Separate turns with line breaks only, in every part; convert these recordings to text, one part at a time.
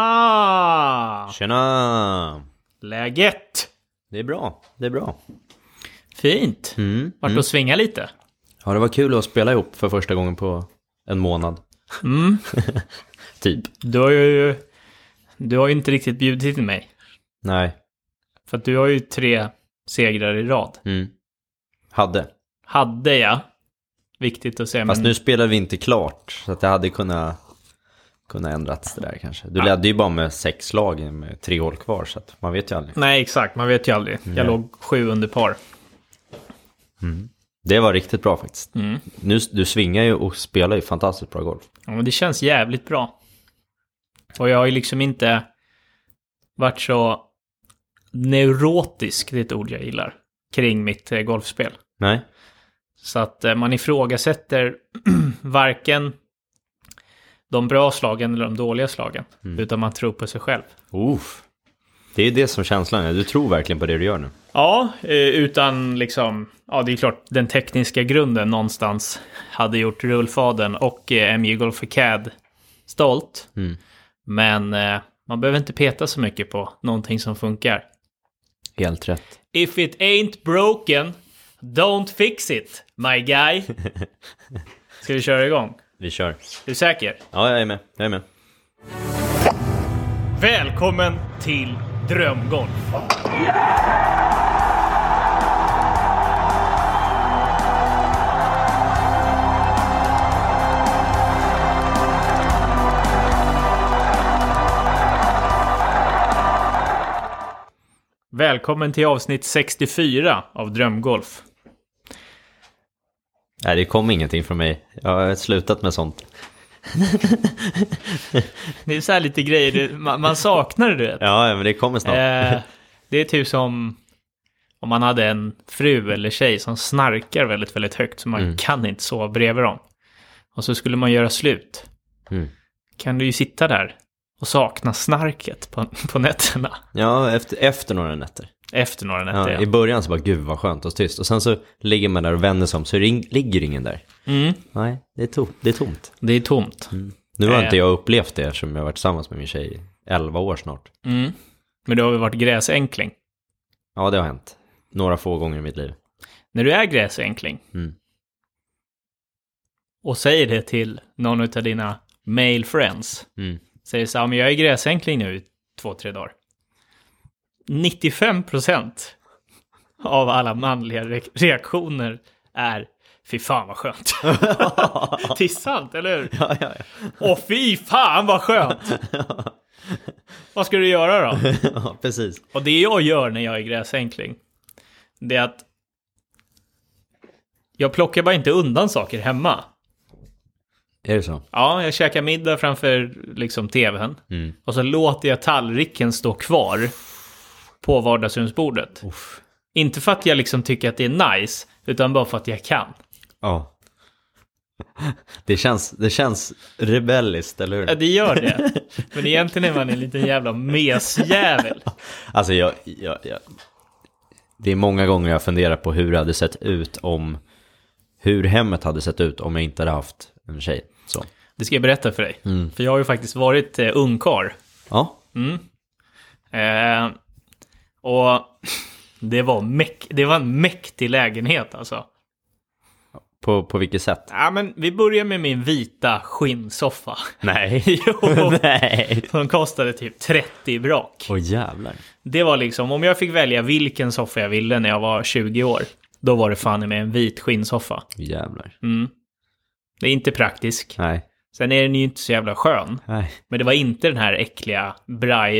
Tjena!
Tjena!
Läget?
Det är bra, det är bra.
Fint.
Mm.
Vart och svinga lite.
Ja, det var kul att spela ihop för första gången på en månad.
Mm.
Typ.
Du har ju... Du har ju inte riktigt bjudit in mig.
Nej.
För att du har ju tre segrar i rad.
Mm. Hade.
Hade jag. Viktigt att säga.
Fast
men
nu spelar vi inte klart, så att det hade kunnat, kunnat ändrats det där kanske. Du ledde ju bara med sex lag med tre hål kvar, så att man vet ju aldrig.
Nej, exakt. Man vet ju aldrig. Jag låg sju under par.
Mm. Det var riktigt bra faktiskt. Nu, du svingar ju och spelar ju fantastiskt bra golf.
Mm. Ja, men det känns jävligt bra. Och jag har ju liksom inte varit så neurotisk, det är ett ord jag gillar, kring mitt eh, golfspel.
Nej.
Så att eh, man ifrågasätter varken de bra slagen eller de dåliga slagen. Utan man tror på sig själv.
Uff. Det är ju det som känslan är. Du tror verkligen på det du gör nu.
Ja, eh, utan liksom, ja det är klart den tekniska grunden någonstans hade gjort rullfaden och eh, MJ Golf CAD stolt.
Mm.
Men eh, man behöver inte peta så mycket på någonting som funkar.
Helt rätt.
If it ain't broken, don't fix it, my guy. Ska vi köra igång?
Vi kör.
Är du säker?
Ja, jag är med. Jag är med.
Välkommen till Drömgolf! Välkommen till avsnitt 64 av Drömgolf.
Nej, det kom ingenting från mig. Jag har slutat med sånt.
Det är så här lite grejer du- man, man saknar, du vet.
Ja, men det kommer snart.
Eh, det är typ som om man hade en fru eller tjej som snarkar väldigt, väldigt högt så man
Mm.
kan inte sova bredvid dem. Och så skulle man göra slut.
Mm.
Kan du ju sitta där och sakna snarket på, på nätterna.
Ja, efter, efter några nätter.
Efter några nätter.
Ja, I
Ja,
början så bara, gud vad skönt och tyst. Och sen så ligger man där och vänder sig om, så ring, ligger ingen där.
mm,
Nej, det är, tom, det är tomt.
det är tomt.
Nu har
Eh.
inte jag upplevt det eftersom jag har varit tillsammans med min tjej i 11 år snart.
Mm. Men du har väl varit gräsänkling?
Ja, det har hänt. Några få gånger i mitt liv.
När du är gräsänkling
Mm.
och säger det till någon av dina male friends.
Mm.
Säger så här, men jag är gräsänkling nu i två, tre dagar. 95 procent av alla manliga re- reaktioner är Fy fan vad skönt. det är sant, eller hur?
Ja, ja, ja.
Åh fy fan vad skönt! vad ska du göra då?
ja precis.
Och det jag gör när jag är gräsänkling, det är att jag plockar bara inte undan saker hemma.
Är det så?
Ja, jag käkar middag framför liksom tvn. Och så låter jag tallriken stå kvar på vardagsrumsbordet.
Uff.
Inte för att jag liksom tycker att det är nice, utan bara för att jag kan.
Ja. Det känns, det känns rebelliskt, eller hur?
Ja, det gör det. Men egentligen är man en liten jävla mesjävel.
Alltså jag, jag, jag... Det är många gånger jag funderar på hur det hade sett ut om... Hur hemmet hade sett ut om jag inte hade haft en tjej. Så.
Det ska jag berätta för dig. För jag har ju faktiskt varit eh, ungkarl.
Ja.
Eh, och det var, mäk- det var en mäktig lägenhet alltså.
På, på vilket sätt?
Ja, men vi börjar med min vita skinnsoffa.
Nej.
Jo.
Nej.
Som kostade typ 30 brak.
Åh jävlar.
Det var liksom, om jag fick välja vilken soffa jag ville när jag var 20 år, då var det fan med en vit skinnsoffa. Mm.
Jävlar.
Det är inte praktisk.
Nej.
Sen är den ju inte så jävla skön.
Nej.
Men det var inte den här äckliga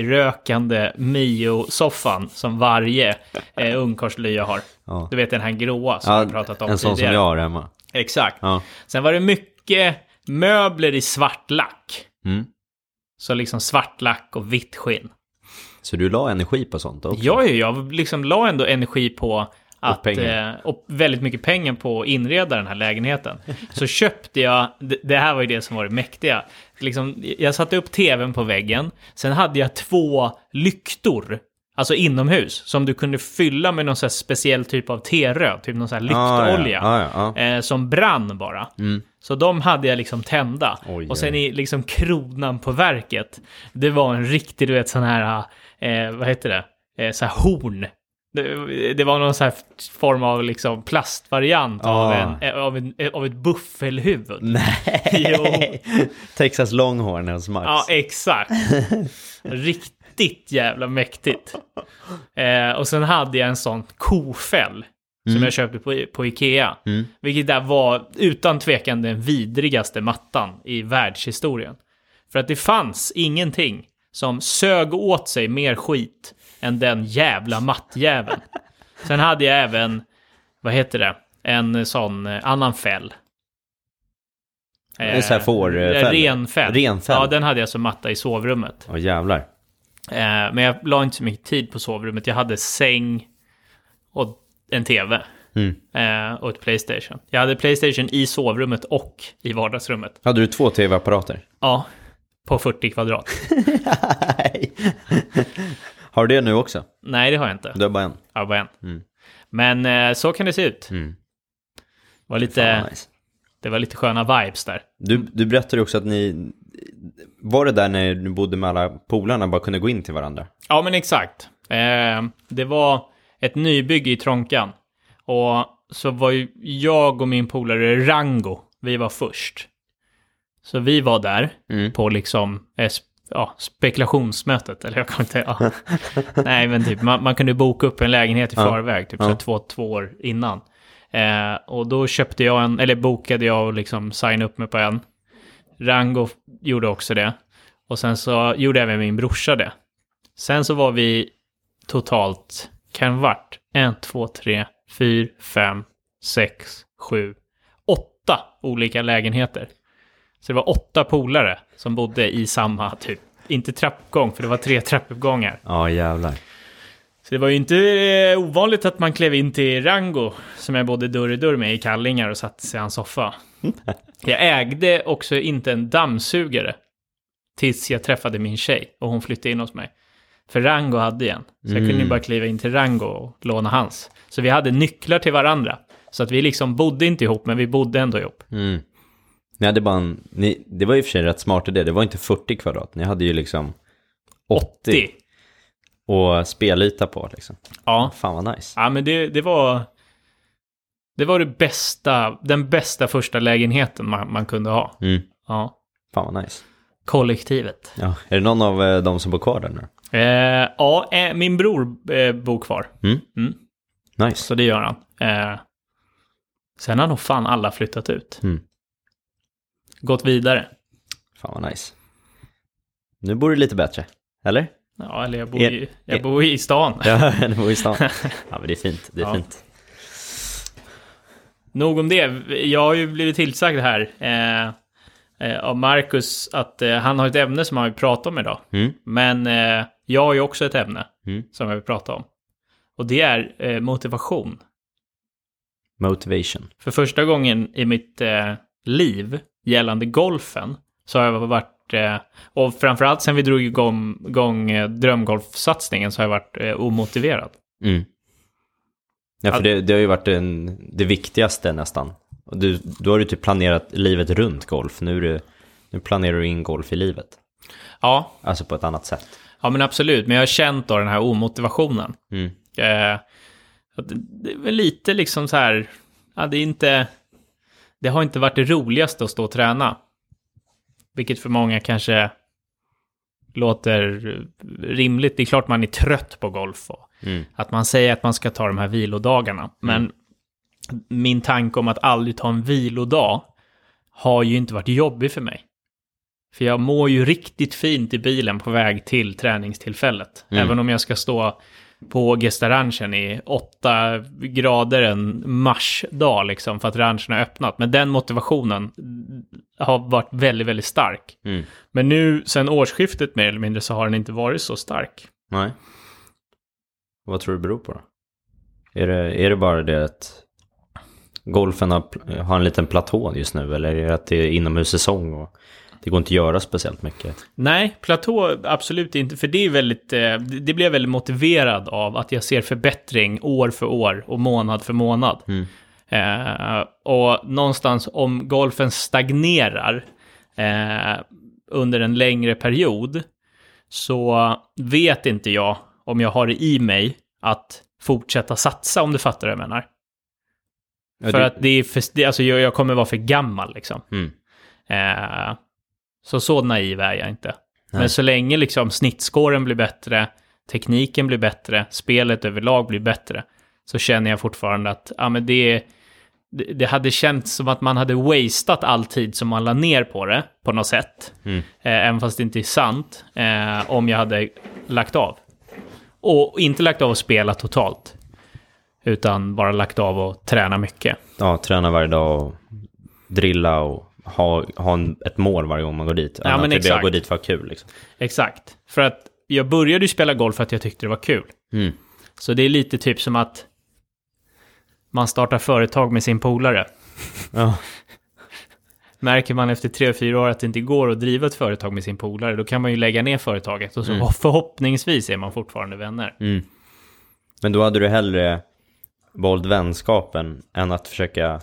brajrökande Mio-soffan som varje eh, ungkarlslya har.
Ja.
Du vet den här gråa som
Ja,
vi har pratat om
en sån som
tidigare.
jag har hemma.
Exakt.
Ja.
Sen var det mycket möbler i svart lack.
Mm.
Så liksom svart lack och vitt skinn.
Så du la energi på sånt också?
Ja, ja, jag liksom la ändå energi på att, och,
pengar.
eh, och väldigt mycket pengar på att inreda den här lägenheten. Så köpte jag, det, det här var ju det som var det mäktiga. Liksom, jag satte upp tvn på väggen, sen hade jag två lyktor, alltså inomhus, som du kunde fylla med någon så här speciell typ av T-röd, typ någon så här
Ah, ja.
lyktolja.
Ah, ja, ja.
Eh, som brann bara. Så de hade jag liksom tända.
Oj,
och sen
oj.
i liksom kronan på verket, det var en riktig, du vet, sån här, eh, vad heter det, eh, så här horn. Det, det var någon sån här form av liksom plastvariant av,
Ah.
en, eh, av, en, eh, av ett buffelhuvud.
Nej! Texas Longhorns Max.
Ja, exakt. Riktigt jävla mäktigt. Eh, och sen hade jag en sån kofäll som jag köpte på, på Ikea. Vilket där var utan tvekan den vidrigaste mattan i världshistorien. För att det fanns ingenting som sög åt sig mer skit än den jävla mattjäveln. Sen hade jag även, vad heter det, en sån eh, annan fäll.
En sån här fårfäll.
Eh, Renfäll.
Renfäll.
Ja, den hade jag som matta i sovrummet.
Åh jävlar.
Eh, men jag la inte så mycket tid på sovrummet. Jag hade säng och en tv.
Mm.
Eh, och ett Playstation. Jag hade Playstation i sovrummet och i vardagsrummet.
Hade du två tv-apparater?
Ja, på 40 kvadrat.
Nej. Har du det nu också?
Nej, det har jag inte.
Du har bara en?
Ja, bara en. Men eh, så kan det se ut. Det, var lite,
Fan, nice.
det var lite sköna vibes där.
Du, du berättade också att ni... Var det där när du bodde med alla polarna bara kunde gå in till varandra?
Ja, men exakt. Eh, det var ett nybygge i Tronkan. Och så var ju jag och min polare Rango, vi var först. Så vi var där
Mm.
på liksom eh, sp- ja, spekulationsmötet, eller jag kommer inte... Ja. Nej, men typ man, man kunde boka upp en lägenhet i förväg, typ så två, två år innan. Eh, och då köpte jag en, eller bokade jag och liksom signade upp mig på en. Rango f- gjorde också det. Och sen så gjorde även min brorsa det. Sen så var vi totalt, kan det vart, en, två, tre, fyra, fem, sex, sju, åtta olika lägenheter. Så det var åtta polare som bodde i samma typ, inte trappuppgång, för det var tre trappuppgångar.
Ja, jävlar.
Så det var ju inte eh, ovanligt att man klev in till Rango, som jag bodde dörr i dörr med i kallingar och satte sig i hans soffa. Jag ägde också inte en dammsugare tills jag träffade min tjej och hon flyttade in hos mig. För Rango hade en, så jag kunde ju bara kliva in till Rango och låna hans. Så vi hade nycklar till varandra. Så att vi liksom bodde inte ihop, men vi bodde ändå ihop.
Mm. Ni hade bara en, ni, det var i och för sig en rätt smart idé. Det var inte 40 kvadrat. Ni hade ju liksom 80,
Det.
och spelyta på liksom.
Ja.
Fan vad nice.
ja, men det, det var... Det var det bästa, den bästa första lägenheten man, man kunde ha.
Mm.
Ja.
Fan vad nice.
Kollektivet.
Ja. Är det någon av eh, dem som bor kvar där nu?
Eh, ja, eh, min bror eh, bor kvar.
Mm? Nice.
Så det gör han. Eh, sen har nog fan alla flyttat ut.
Mm.
Gått vidare.
Fan vad nice. Nu bor du lite bättre. Eller?
Ja, eller jag bor,
Er-
i, jag
er-
bor i stan.
E- Ja, du bor i stan. Ja, men det är fint. Det är
Ja.
fint.
Nog om det. Jag har ju blivit tillsagd här eh, eh, av Marcus att eh, han har ett ämne som han vill prata om idag.
Mm.
Men eh, jag har ju också ett ämne
Mm.
som jag vill prata om. Och det är eh, motivation.
Motivation.
För första gången i mitt eh, liv gällande golfen så har jag varit, eh, och framförallt sen vi drog igång, igång eh, drömgolfsatsningen så har jag varit eh, omotiverad.
Mm. Ja, för
Att-
det, det har ju varit en, det viktigaste nästan. Och Du, då har du typ planerat livet runt golf. Nu, är du, nu planerar du in golf i livet.
Ja,
Alltså på ett annat sätt.
ja men absolut, men jag har känt då den här omotivationen.
Mm.
Eh, att det, det är väl lite liksom så här, ja, det är inte, det har inte varit det roligaste att stå och träna. Vilket för många kanske låter rimligt. Det är klart man är trött på golf och
Mm.
att man säger att man ska ta de här vilodagarna. Men min tanke om att aldrig ta en vilodag har ju inte varit jobbig för mig. För jag mår ju riktigt fint i bilen på väg till träningstillfället. Även om jag ska stå på Gestaranchen i åtta grader en marsdag liksom för att ranchen har öppnat. Men den motivationen har varit väldigt, väldigt stark.
Mm.
Men nu sen årsskiftet mer eller mindre så har den inte varit så stark.
Nej. Vad tror du det beror på då? Är det, är det bara det att golfen har, pl- har en liten platå just nu? Eller är det att det är inomhussäsong och det går inte att göra speciellt mycket?
Nej, platå absolut inte. För det är väldigt, eh, det det blir jag
Mm.
väldigt motiverad av att jag ser förbättring år för år och månad för månad. Eh, och någonstans om golfen stagnerar eh, under en längre period så vet inte jag om jag har det i mig att fortsätta satsa om du fattar vad jag menar.
Ja,
för
det-
att det är för, det, alltså jag, jag kommer vara för gammal liksom.
Mm.
Eh, så så naiv är jag inte.
Nej.
Men så länge liksom snittskåren blir bättre, tekniken blir bättre, spelet överlag blir bättre, så känner jag fortfarande att ja, men det, det det hade känts som att man hade wasted all tid som man la ner på det, på något sätt.
Mm.
Eh, även fast det inte är sant, eh, om jag hade lagt av. Och inte lagt av och spela totalt, utan bara lagt av och träna mycket.
Ja, träna varje dag och drilla och ha, ha en, ett mål varje gång man går dit. Än
men
att det blir
exakt.
att gå dit för att ha kul liksom.
Exakt. För att jag började ju spela golf för att jag tyckte det var kul.
Mm.
Så det är lite typ som att man startar företag med sin polare.
Ja.
Märker man efter tre, fyra år att det inte går att driva ett företag med sin polare, då kan man ju lägga ner företaget och så förhoppningsvis är man fortfarande vänner.
Mm. Men då hade du hellre valt vänskapen än att försöka...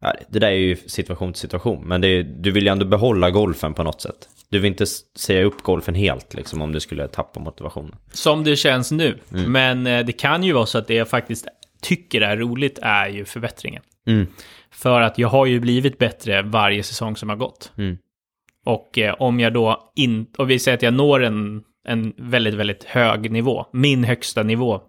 Ja, det där är ju situation till situation, men det är, du vill ju ändå behålla golfen på något sätt. Du vill inte s- säga upp golfen helt liksom, om du skulle tappa motivationen.
Som det känns nu.
Mm.
Men eh, det kan ju vara så att det jag faktiskt tycker är roligt är ju förbättringen.
Mm.
För att jag har ju blivit bättre varje säsong som har gått.
Mm.
Och eh, om jag då inte, och vi säger att jag når en, en väldigt, väldigt hög nivå, min högsta nivå,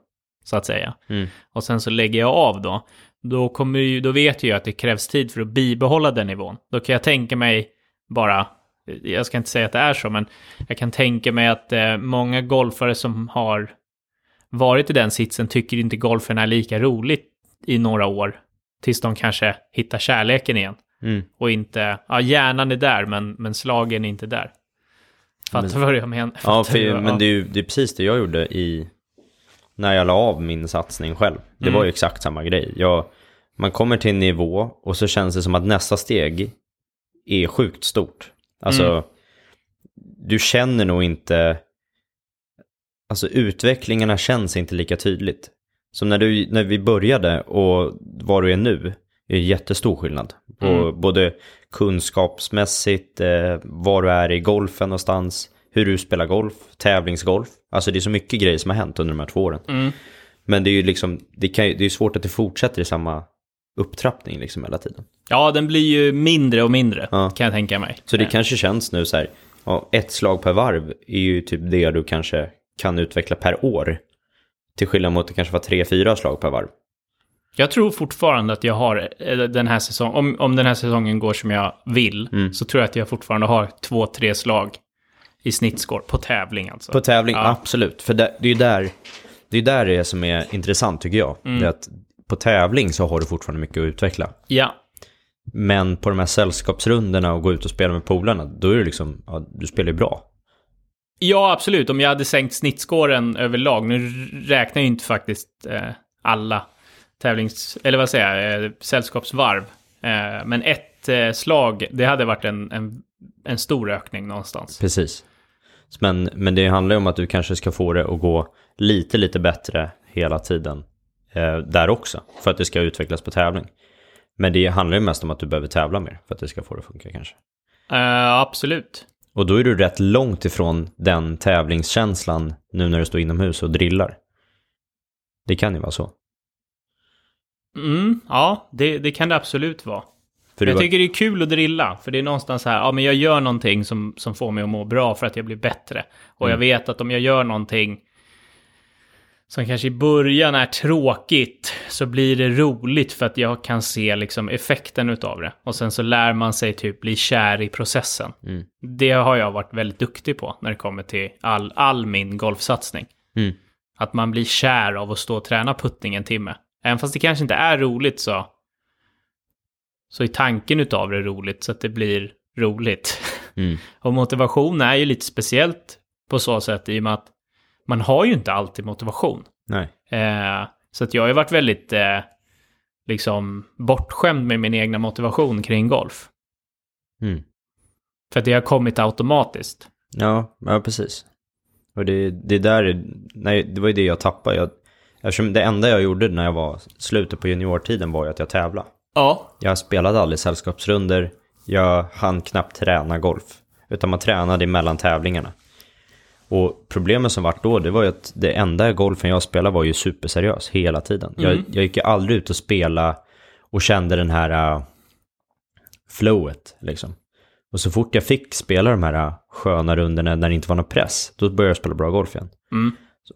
så att säga.
Mm.
Och sen så lägger jag av då, då, kommer ju, då vet jag ju att det krävs tid för att bibehålla den nivån. Då kan jag tänka mig bara, eh, jag ska inte säga att det är så, men jag kan tänka mig att eh, många golfare som har varit i den sitsen tycker inte golfen är lika roligt i några år, tills de kanske hittar kärleken igen
Mm.
och inte, ja hjärnan är där men, men slagen är inte där. Fattar du vad jag menar?
Ja,
Fattar du
för,
vad-
men det är ju det är precis det jag gjorde i... När jag la av min satsning själv. Det
Mm.
var ju exakt samma grej. Jag, man kommer till en nivå och så känns det som att nästa steg är sjukt stort. Alltså,
Mm.
du känner nog inte... Alltså utvecklingarna känns inte lika tydligt. Som när, du, när vi började och vad du är nu är jättestor skillnad. På Både kunskapsmässigt, eh, var du är i golfen någonstans, hur du spelar golf, tävlingsgolf. Alltså det är så mycket grejer som har hänt under de här två åren.
Mm.
Men det är ju liksom, det, kan, ju- det är ju svårt att det fortsätter i samma upptrappning liksom hela tiden.
Ja, den blir ju mindre och mindre,
Ja.
kan jag tänka mig.
Så det kanske känns nu så här, ja, ett slag per varv är ju typ det du kanske kan utveckla per år. Till skillnad mot det kanske var tre, fyra slag per varv.
Jag tror fortfarande att jag har eh, den här säsongen, om, om den här säsongen går som jag vill,
Mm.
så tror jag att jag fortfarande har två, tre slag i snittskår på tävling alltså.
På tävling, absolut. För det, det är ju där det, är där det som är intressant tycker jag. Det är att på tävling så har du fortfarande mycket att utveckla.
Ja,
Men på de här sällskapsrundorna och gå ut och spela med polarna, då är det liksom, ja, du spelar ju bra.
Ja, absolut. Om jag hade sänkt snittskåren överlag. Nu räknar jag ju inte faktiskt eh, alla tävlings... Eller vad säger jag? Eh, sällskapsvarv. Eh, men ett eh, slag, det hade varit en, en, en stor ökning någonstans.
Precis. Men, men det handlar ju om att du kanske ska få det att gå lite, lite bättre hela tiden eh, där också. För att det ska utvecklas på tävling. Men det handlar ju mest om att du behöver tävla mer för att det ska få det att funka kanske.
Eh, absolut.
Och då är du rätt långt ifrån den tävlingskänslan nu när du står inomhus och drillar. Det kan ju vara så.
Mm, ja, det, det kan det absolut vara.
För
Men jag
du,
tycker det är kul att drilla, för det är någonstans så här, ja men jag gör någonting som, som får mig att må bra för att jag blir bättre. Och jag vet att om jag gör någonting som kanske i början är tråkigt, så blir det roligt för att jag kan se liksom effekten utav det. Och sen så lär man sig typ bli kär i processen.
Mm.
Det har jag varit väldigt duktig på när det kommer till all, all min golfsatsning.
Mm.
Att man blir kär av att stå och träna putting en timme. Även fast det kanske inte är roligt så så är tanken utav det roligt så att det blir roligt.
Mm.
Och motivation är ju lite speciellt på så sätt i och med att man har ju inte alltid motivation.
nej.
Eh, så att jag har ju varit väldigt eh, liksom bortskämd med min egna motivation kring golf.
Mm.
För att det har kommit automatiskt.
Ja, ja precis. Och det, det där, är- nej, det var ju det jag tappade. Jag, Eftersom det enda jag gjorde när jag var slutet på juniortiden var ju att jag tävlade.
Ja.
Jag spelade aldrig sällskapsrunder. Jag hann knappt träna golf. Utan man tränade mellan tävlingarna. Och problemet som vart då, det var ju att det enda golfen jag spelade var ju superseriös hela tiden. Jag, jag gick ju aldrig ut och spela och kände den här äh, flowet liksom. Och så fort jag fick spela de här äh, sköna rundorna när det inte var någon press, då började jag spela bra golf igen.
Mm.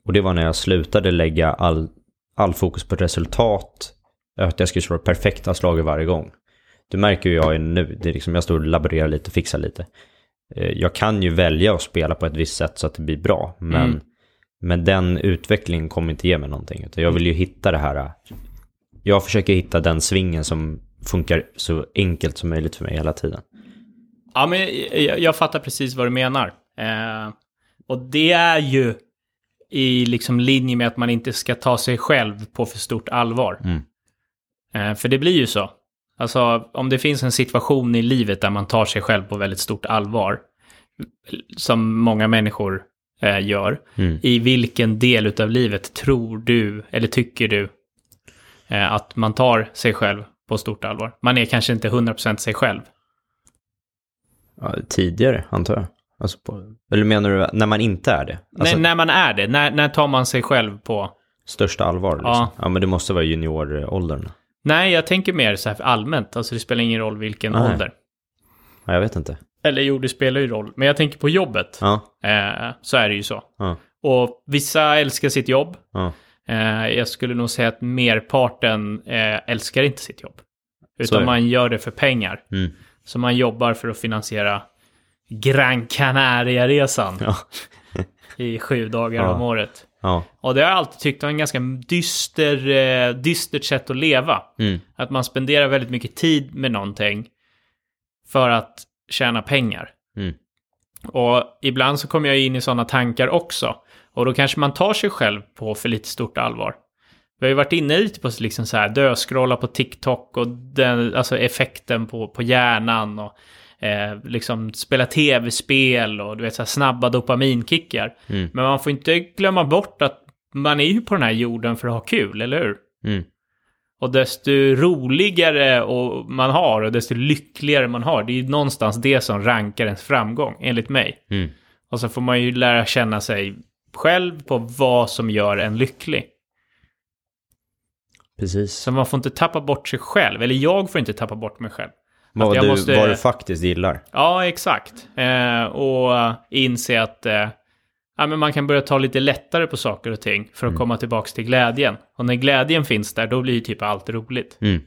Och det var när jag slutade lägga all, all fokus på resultat, att jag skulle slå det perfekta slaget varje gång. Det märker ju jag nu, det är liksom, jag står och laborerar lite och fixar lite. Eh, Jag kan ju välja att spela på ett visst sätt så att det blir bra, men,
Mm.
men den utvecklingen kommer inte ge mig någonting. Utan jag vill ju hitta det här, eh, jag försöker hitta den svingen som funkar så enkelt som möjligt för mig hela tiden.
Ja, men jag, jag, jag fattar precis vad du menar. Eh, och det är ju i liksom linje med att man inte ska ta sig själv på för stort allvar.
Mm.
Eh, för det blir ju så. Alltså, om det finns en situation i livet där man tar sig själv på väldigt stort allvar, som många människor eh, gör,
Mm.
i vilken del av livet tror du, eller tycker du, eh, att man tar sig själv på stort allvar? Man är kanske inte 100% sig själv.
Ja, tidigare, antar jag. Alltså på, eller menar du när man inte är det? Alltså,
när, när man är det, när, när tar man sig själv på...
Största allvar? Liksom.
Ja.
Ja. men det måste vara junioråldern.
Nej, jag tänker mer så här allmänt, alltså det spelar ingen roll vilken
Nej.
ålder.
Ja, jag vet inte.
Eller jo, det spelar ju roll, men jag tänker på jobbet.
Ja,
Eh, så är det ju så.
ja,
Och vissa älskar sitt jobb.
ja.
Eh, jag skulle nog säga att merparten eh, älskar inte sitt jobb.
är
Utan
det.
man gör det för pengar.
Mm.
Så man jobbar för att finansiera Gran Canaria-resan
Ja.
i sju dagar
Ja.
om året.
ja.
Och det har jag alltid tyckt var en ganska dyster, eh, dystert sätt att leva.
Mm.
Att man spenderar väldigt mycket tid med någonting för att tjäna pengar.
Mm.
Och ibland så kommer jag in i sådana tankar också. Och då kanske man tar sig själv på för lite stort allvar. Vi har ju varit inne lite på liksom så här döskrolla på TikTok och den, alltså effekten på, på hjärnan och eh, liksom spela tv-spel och du vet så här snabba dopaminkickar.
Mm.
Men man får inte glömma bort att man är ju på den här jorden för att ha kul, eller hur?
Mm.
Och desto roligare och man har och desto lyckligare man har. Det är ju någonstans det som rankar ens framgång, enligt mig.
Mm.
Och så får man ju lära känna sig själv på vad som gör en lycklig.
Precis.
Så man får inte tappa bort sig själv, eller jag får inte tappa bort mig själv. Att
Vad
jag
du,
måste-
vad du faktiskt gillar.
Ja, exakt. Eh, och eh, inse att eh, ja, men man kan börja ta lite lättare på saker och ting för att
Mm.
komma tillbaka till glädjen. Och när glädjen finns där, då blir ju typ allt roligt.
Mm.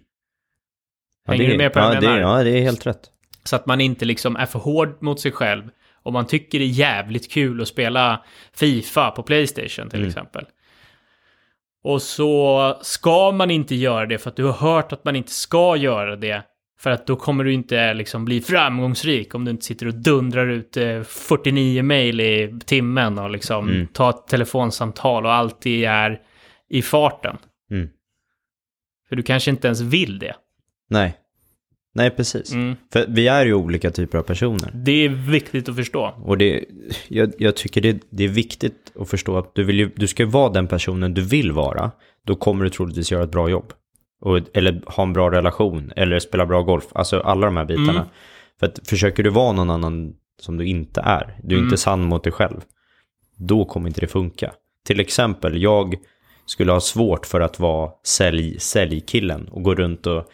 Ja,
Hänger
det,
du med på vad
ja,
jag
det,
menar?
Ja, det är helt rätt.
Så att man inte liksom är för hård mot sig själv. Och man tycker det är jävligt kul att spela Fifa på Playstation till exempel. Och så ska man inte göra det för att du har hört att man inte ska göra det. För att då kommer du inte liksom bli framgångsrik om du inte sitter och dundrar ut eh, 49 mejl i timmen och liksom
Mm.
tar ett telefonsamtal och alltid är i farten.
Mm.
För du kanske inte ens vill det.
Nej. Nej, precis.
Mm.
För vi är ju olika typer av personer.
Det är viktigt att förstå.
Och det, jag, jag tycker det, det är viktigt att förstå att du, vill ju, du ska ju vara den personen du vill vara. Då kommer du troligtvis göra ett bra jobb. Och, eller ha en bra relation, eller spela bra golf. Alltså alla de här bitarna.
Mm.
För att försöker du vara någon annan som du inte är, du är
Mm.
inte sann mot dig själv, då kommer inte det funka. Till exempel, jag skulle ha svårt för att vara sälj, säljkillen och gå runt och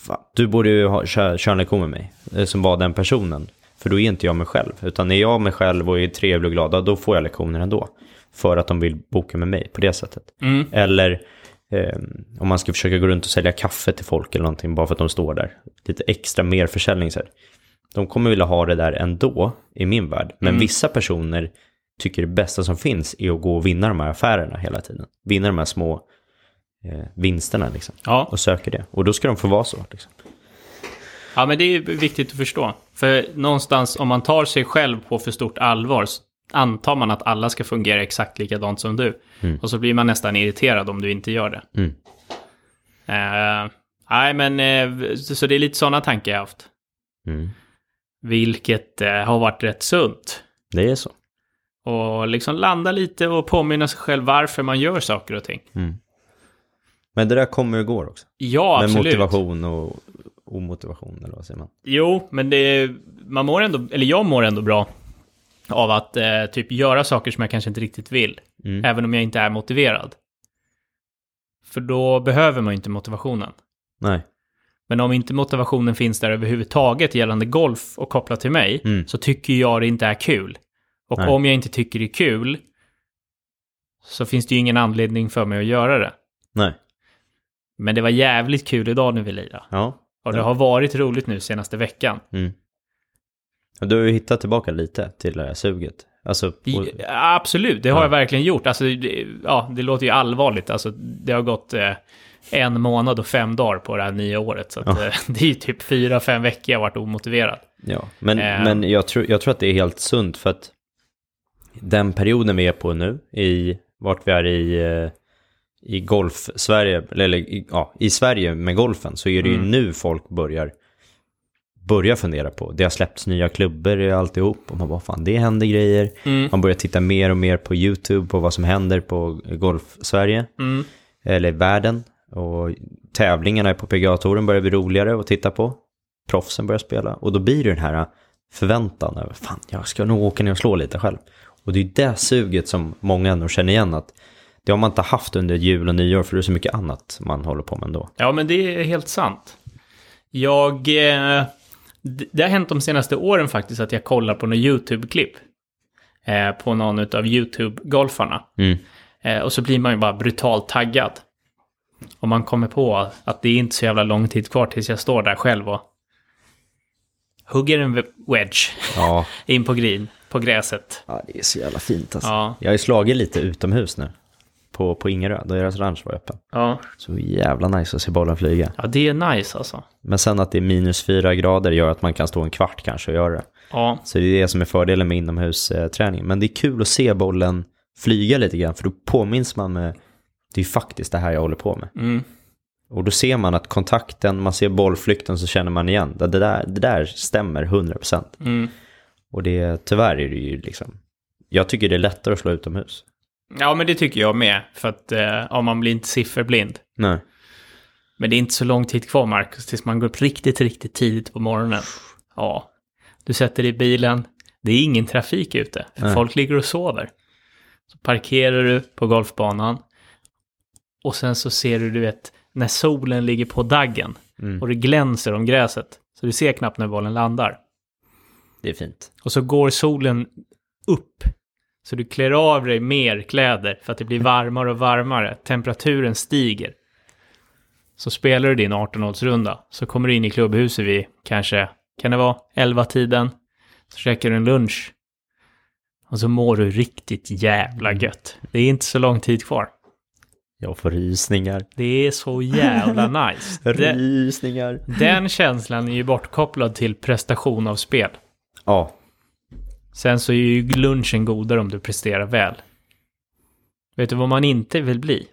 Fan, du borde ju ha, köra, köra en lektion med mig, eh, som var den personen. För då är inte jag mig själv. Utan är jag mig själv och är trevlig och glad, ja, då får jag lektioner ändå. För att de vill boka med mig på det sättet.
Mm.
Eller eh, om man ska försöka gå runt och sälja kaffe till folk eller någonting bara för att de står där. Lite extra merförsäljning så här. De kommer vilja ha det där ändå, i min värld. Men
Mm.
vissa personer tycker det bästa som finns är att gå och vinna de här affärerna hela tiden. Vinna de här små eh, vinsterna liksom.
Ja.
Och söker det. Och då ska de få vara så. Liksom.
Ja, men det är viktigt att förstå. För någonstans, om man tar sig själv på för stort allvar, så antar man att alla ska fungera exakt likadant som du. Och så blir man nästan irriterad om du inte gör det.
Mm.
Eh, nej, men eh, så så det är lite sådana tankar jag har haft.
Mm.
Vilket eh, har varit rätt sunt.
Det är så.
Och liksom landa lite och påminna sig själv varför man gör saker och ting.
Mm. Men det där kommer ju igår också.
Ja,
Med
absolut.
motivation och omotivation eller vad säger man?
Jo, men det, man mår ändå, eller jag mår ändå bra av att eh, typ göra saker som jag kanske inte riktigt vill.
Mm.
Även om jag inte är motiverad. För då behöver man ju inte motivationen.
Nej.
Men om inte motivationen finns där överhuvudtaget gällande golf och kopplat till mig,
Mm.
så tycker jag det inte är kul. Och
Nej.
om jag inte tycker det är kul, så finns det ju ingen anledning för mig att göra det.
Nej.
Men det var jävligt kul idag när vi lirade.
Ja.
Och det
Ja.
har varit roligt nu senaste veckan.
Mm. Och Du har ju hittat tillbaka lite till det här suget. Alltså, och,
I- Absolut, det har
Ja.
jag verkligen gjort. Alltså, det, ja, det låter ju allvarligt. Alltså, det har gått eh, en månad och fem dagar på det här nya året. Så att, eh, det är ju typ fyra, fem veckor jag har varit omotiverad.
ja. Men,
Eh.
men jag, tror, jag tror att det är helt sunt för att den perioden vi är på nu, i vart vi är i, eh, i golf-Sverige, eller, eller i, ja, i Sverige med golfen, så är det
Mm.
ju nu folk börjar börjar fundera på. Det har släppts nya klubbor och alltihop och man bara fan det händer grejer.
Mm.
Man börjar titta mer och mer på YouTube på vad som händer på Golf-Sverige.
Mm.
eller världen. Och tävlingarna på PGA-touren börjar bli roligare att titta på. Proffsen börjar spela. Och då blir det den här förväntan över, fan jag ska nog åka ner och slå lite själv. Och det är det suget som många ändå känner igen att det har man inte haft under jul och nyår för det är så mycket annat man håller på med ändå.
Ja, men det är helt sant. Jag... Eh, d- det har hänt de senaste åren faktiskt att jag kollar på några YouTube-klipp. Eh, på någon av YouTube-golfarna.
Mm.
Eh, och så blir man ju bara brutalt taggad. Och man kommer på att det är inte så jävla lång tid kvar tills jag står där själv och hugger en ve- wedge
Ja.
in på green, på gräset.
ja, det är så jävla fint alltså.
Ja.
Jag har ju slagit lite utomhus nu. På, på Ingerö, då deras ranch var öppen.
Ja,
Så jävla nice att se bollen flyga.
ja det är nice alltså.
Men sen att det är minus fyra grader gör att man kan stå en kvart kanske och göra det.
Ja,
Så det är det som är fördelen med inomhusträning. Men det är kul att se bollen flyga lite grann, för då påminns man med det är faktiskt det här jag håller på med.
mm.
Och då ser man att kontakten, man ser bollflykten så känner man igen, det det där, det där stämmer 100%.
Mm.
Och det, tyvärr är det ju liksom, jag tycker det är lättare att slå utomhus.
ja men det tycker jag med. För att eh, ja, man blir inte sifferblind.
Nej.
Men det är inte så lång tid kvar, Marcus, tills man går upp riktigt, riktigt tidigt på morgonen. Ja. Du sätter dig i bilen. Det är ingen trafik ute. för
Nej.
Folk ligger och sover. Så parkerar du på golfbanan. Och sen så ser du, du vet, när solen ligger på daggen.
Mm.
Och det glänser om gräset. Så du ser knappt när bollen landar.
Det är fint.
Och så går solen upp. Så du klär av dig mer kläder för att det blir varmare och varmare. Temperaturen stiger. Så spelar du din 18-hålsrunda. Så kommer du in i klubbhuset vid kanske, kan det vara, 11-tiden. Så käkar du en lunch. Och så mår du riktigt jävla gött. Det är inte så lång tid kvar.
Jag får rysningar.
Det är så jävla nice. Den,
Rysningar.
den känslan är ju bortkopplad till prestation av spel.
Ja,
Sen så är ju lunchen godare om du presterar väl. Vet du vad man inte vill bli?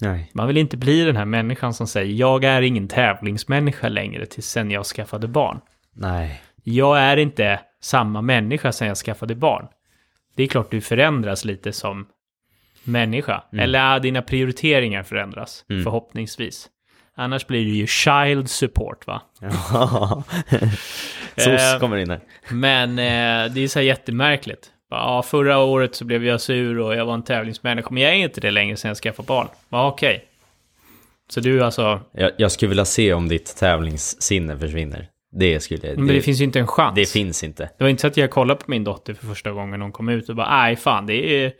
nej.
Man vill inte bli den här människan som säger jag är ingen tävlingsmänniska längre till sen jag skaffade barn.
Nej.
Jag är inte samma människa sen jag skaffade barn. Det är klart du förändras lite som människa. Eller äh, dina prioriteringar förändras förhoppningsvis. Annars blir det ju child support va? Eh.
Soc kommer in här.
Men eh, det är så här jättemärkligt. Bara, Ja, förra året så blev jag sur och jag var en tävlingsmänniska, men jag är inte det längre sen jag skaffade barn. Ja, okej. Så du alltså,
Jag, jag skulle vilja se om ditt tävlingssinne försvinner. Det skulle
men
det,
det,
det,
finns ju inte en chans. Det,
finns inte.
var inte så att jag kollade på min dotter för första gången hon kom ut och bara, nej fan, det är...